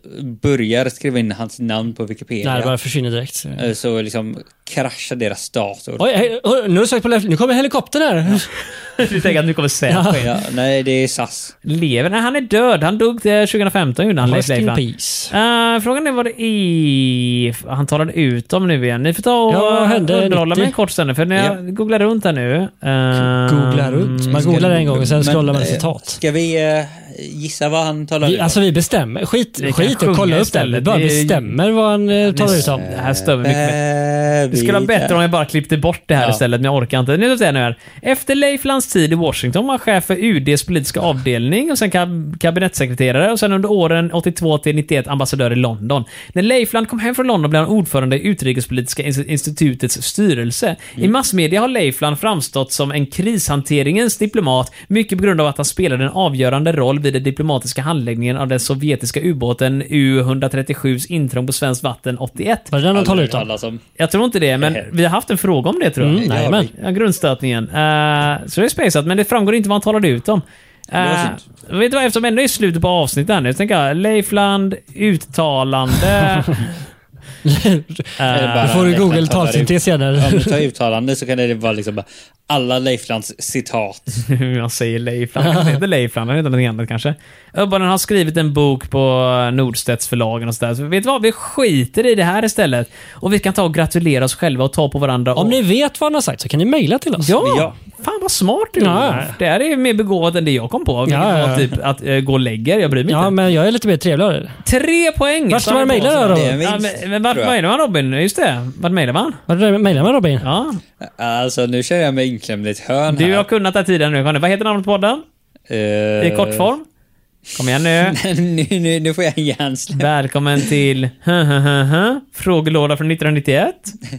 börjar skriva in hans namn på Wikipedia Nej, det bara försvinner direkt. eh, så liksom kraschar deras dator. Oj, hej, oj, nu har du sagt på left. Nu kommer helikoptern här. Du tänker att nu kommer Säpo in. Ja, nej, det är SAS. Lever? Nej, han är död. Han dog eh, 2015 gjorde han. Leif Rest in Leifland. peace. Eh, frågan är vad det är han talade ut om nu igen. Ni får ta och Ja, vad hände eh, underhålla 90? mig en kort stund för när jag googlar runt här nu. eh, Googlar runt. Man googlar en gång och sen Mm. Men, scrollar man eh, citat. Ska vi eh, gissa vad han talar Vi, ut om? alltså vi bestämmer. Skit, Vi kan skit sjunga och kolla upp det. istället. Vi bara Det är- bestämmer vad han eh, talar ut om. Det här Eh, stör mig mycket mer. Äh, Det skulle vara bättre om jag bara klippte bort det här Ja. istället, men jag orkar inte. Nu ska jag säga nu här. Efter Leiflands tid i Washington var han chef för UDs politiska avdelning och sen kab- kabinettssekreterare och sen under åren 82 till 91 ambassadör i London. När Leifland kom hem från London blev han ordförande i Utrikespolitiska ins- institutets styrelse. I massmedia har Leifland framstått som en krishanteringens diplomat, mycket på grund av att han spelade en avgörande roll vid den diplomatiska handläggningen av den sovjetiska ubåten U-137s intrång på svenskt vatten 81. Var det den han talade ut Eh, om? Alla som... Jag tror inte det, men vi har haft en fråga om det tror jag. Mm, det har jajamän. vi. Ja, grundstötningen. Eh, så det är spejsat, men det framgår inte vad han talade ut om. var Eh, synd. vet du vad, eftersom vi ändå är i slutet på avsnittet här nu, så tänker jag Leifland, uttalande. Eller bara Då får du Leifland Google talar ut. talsyntes senare. Om du tar uttalande så kan det vara liksom bara alla Leiflands citat. hur man säger Leifland. Han kanske heter Leifland, han heter något annat kanske. Öbbonen har skrivit en bok på Nordstedts förlagen och sådär. Så vet du vad, vi skiter i det här istället. Och vi kan ta och gratulera oss själva och ta på varandra. Om och... ni vet vad han har sagt så kan ni mejla till oss. Ja. Ja. Fan vad smart du är. Ja. Olof. Det här är mer begåvat än det jag kom på. Ja, ja, Ja, ja. Typ att eh, gå och lägger, jag bryr mig Ja, inte. men jag är lite mer trevligare. Tre poäng! Vart ska man mejla då, Det är Robin? en Ja, vinst, men, men vart tror jag. mejlar man Robin? Just det, vart mejlar man? Vart är det- Mejla med Robin. Ja. Mm. Alltså nu känner jag mig inklämd i ett hörn Du här. har kunnat det här tiden nu. Conny. Vad heter namnet på podden? Eh, I kortform? Kom igen nu. nu, nu, nu får jag en hjärnsläpp. Välkommen till frågelåda från 1991.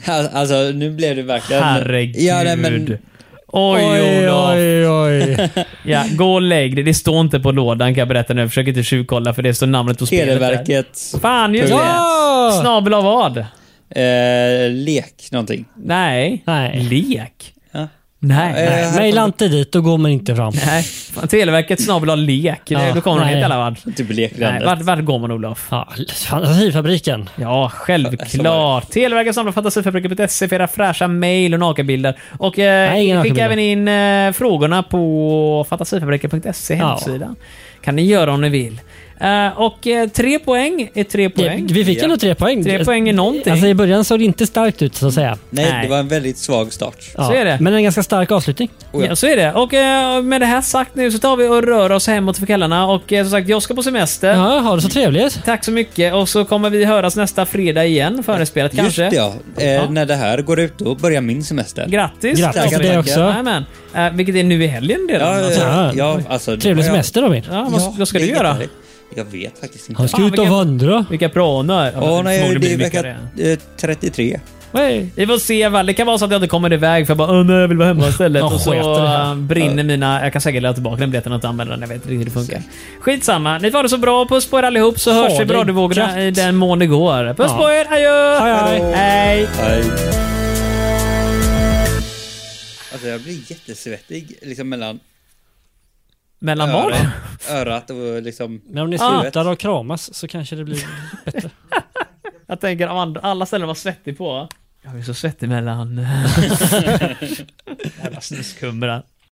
Al- Alltså nu blev det verkligen... Herregud. Ja, nej, men, Oj, oj, oj. oj, oj. Ja, gå och lägg dig. Det står inte på lådan kan jag berätta nu. Jag försöker inte tjuvkolla för det står namnet på spelet där. Televerket, Fan, just det. Ja! Snabel av vad? eh, lek någonting. Nej. Nej. Lek? Ja. Nej. Eh, nej. Mejla inte dit, då går man inte fram. nej. Fan, Televerket snabel av lek. Det- Ja, Då kommer de nej. hit i alla fall. Typ Nej, leklandet. vart, vart går man Olof? Ja, fantasifabriken. Ja, självklart. Televerket samlar fantasifabriken.se för era fräscha mejl och nakenbilder. Och eh, Nej, inga skicka nakenbilder. även in eh, frågorna på fantasifabriken.se Ja. hemsidan. Kan ni göra om ni vill. Eh, och eh, tre poäng är tre Det, poäng. vi fick ändå tre poäng. Tre poäng är någonting. Alltså i början såg det inte starkt ut så att säga. Nej, Nej. det var en väldigt svag start. Ja. Så är det. Men en ganska stark avslutning. Oh, ja. Ja, så är det. Och eh, med det här sagt nu så tar vi och rör oss hemåt för kvällarna. Och eh, som sagt, jag ska på semester. Ja, ha det så trevligt. Tack så mycket. Och så kommer vi höras nästa fredag igen, förespelat Just kanske. det, ja. Eh, När det här går ut, då börjar min semester. Grattis! Grattis Tackar, till det tackar. också. Jajamän. Eh, vilket är nu i helgen redan. Ja, alltså. ja, Ja. ja, alltså, Trevlig ja, semester Robin. Ja, vad, ja, vad ska det du är göra? jättehärligt. Jag vet faktiskt inte. Han ska ut och vilken- vandra. Vilka planer? Ja, Åh men nej, förmodligen det är blir mycket vecka eh, 33. det. Vi får se. Väl. Det kan vara så att jag inte kommer iväg för jag bara "Åh, nej, jag vill vara hemma istället. Jag och så sketer det här. eh, brinner mina... Jag kan säkert lägga tillbaka den biljetten och inte använda den. Jag vet inte riktigt hur det funkar. Skitsamma. Ni får ha det så bra. Puss på er allihop så hörs vi det på radiovågorna gött. i den mån det går. Puss Ja. på er. Adjö! Hej, hej. Hej. Aj. Alltså jag blir jättesvettig liksom mellan Mellan vad? örat, örat och liksom... Men om ni Ah. slutar och kramas så kanske det blir... Jag tänker om andra- alla ställen var svettig på. Jag är så svettig mellan... Jävla snuskumra.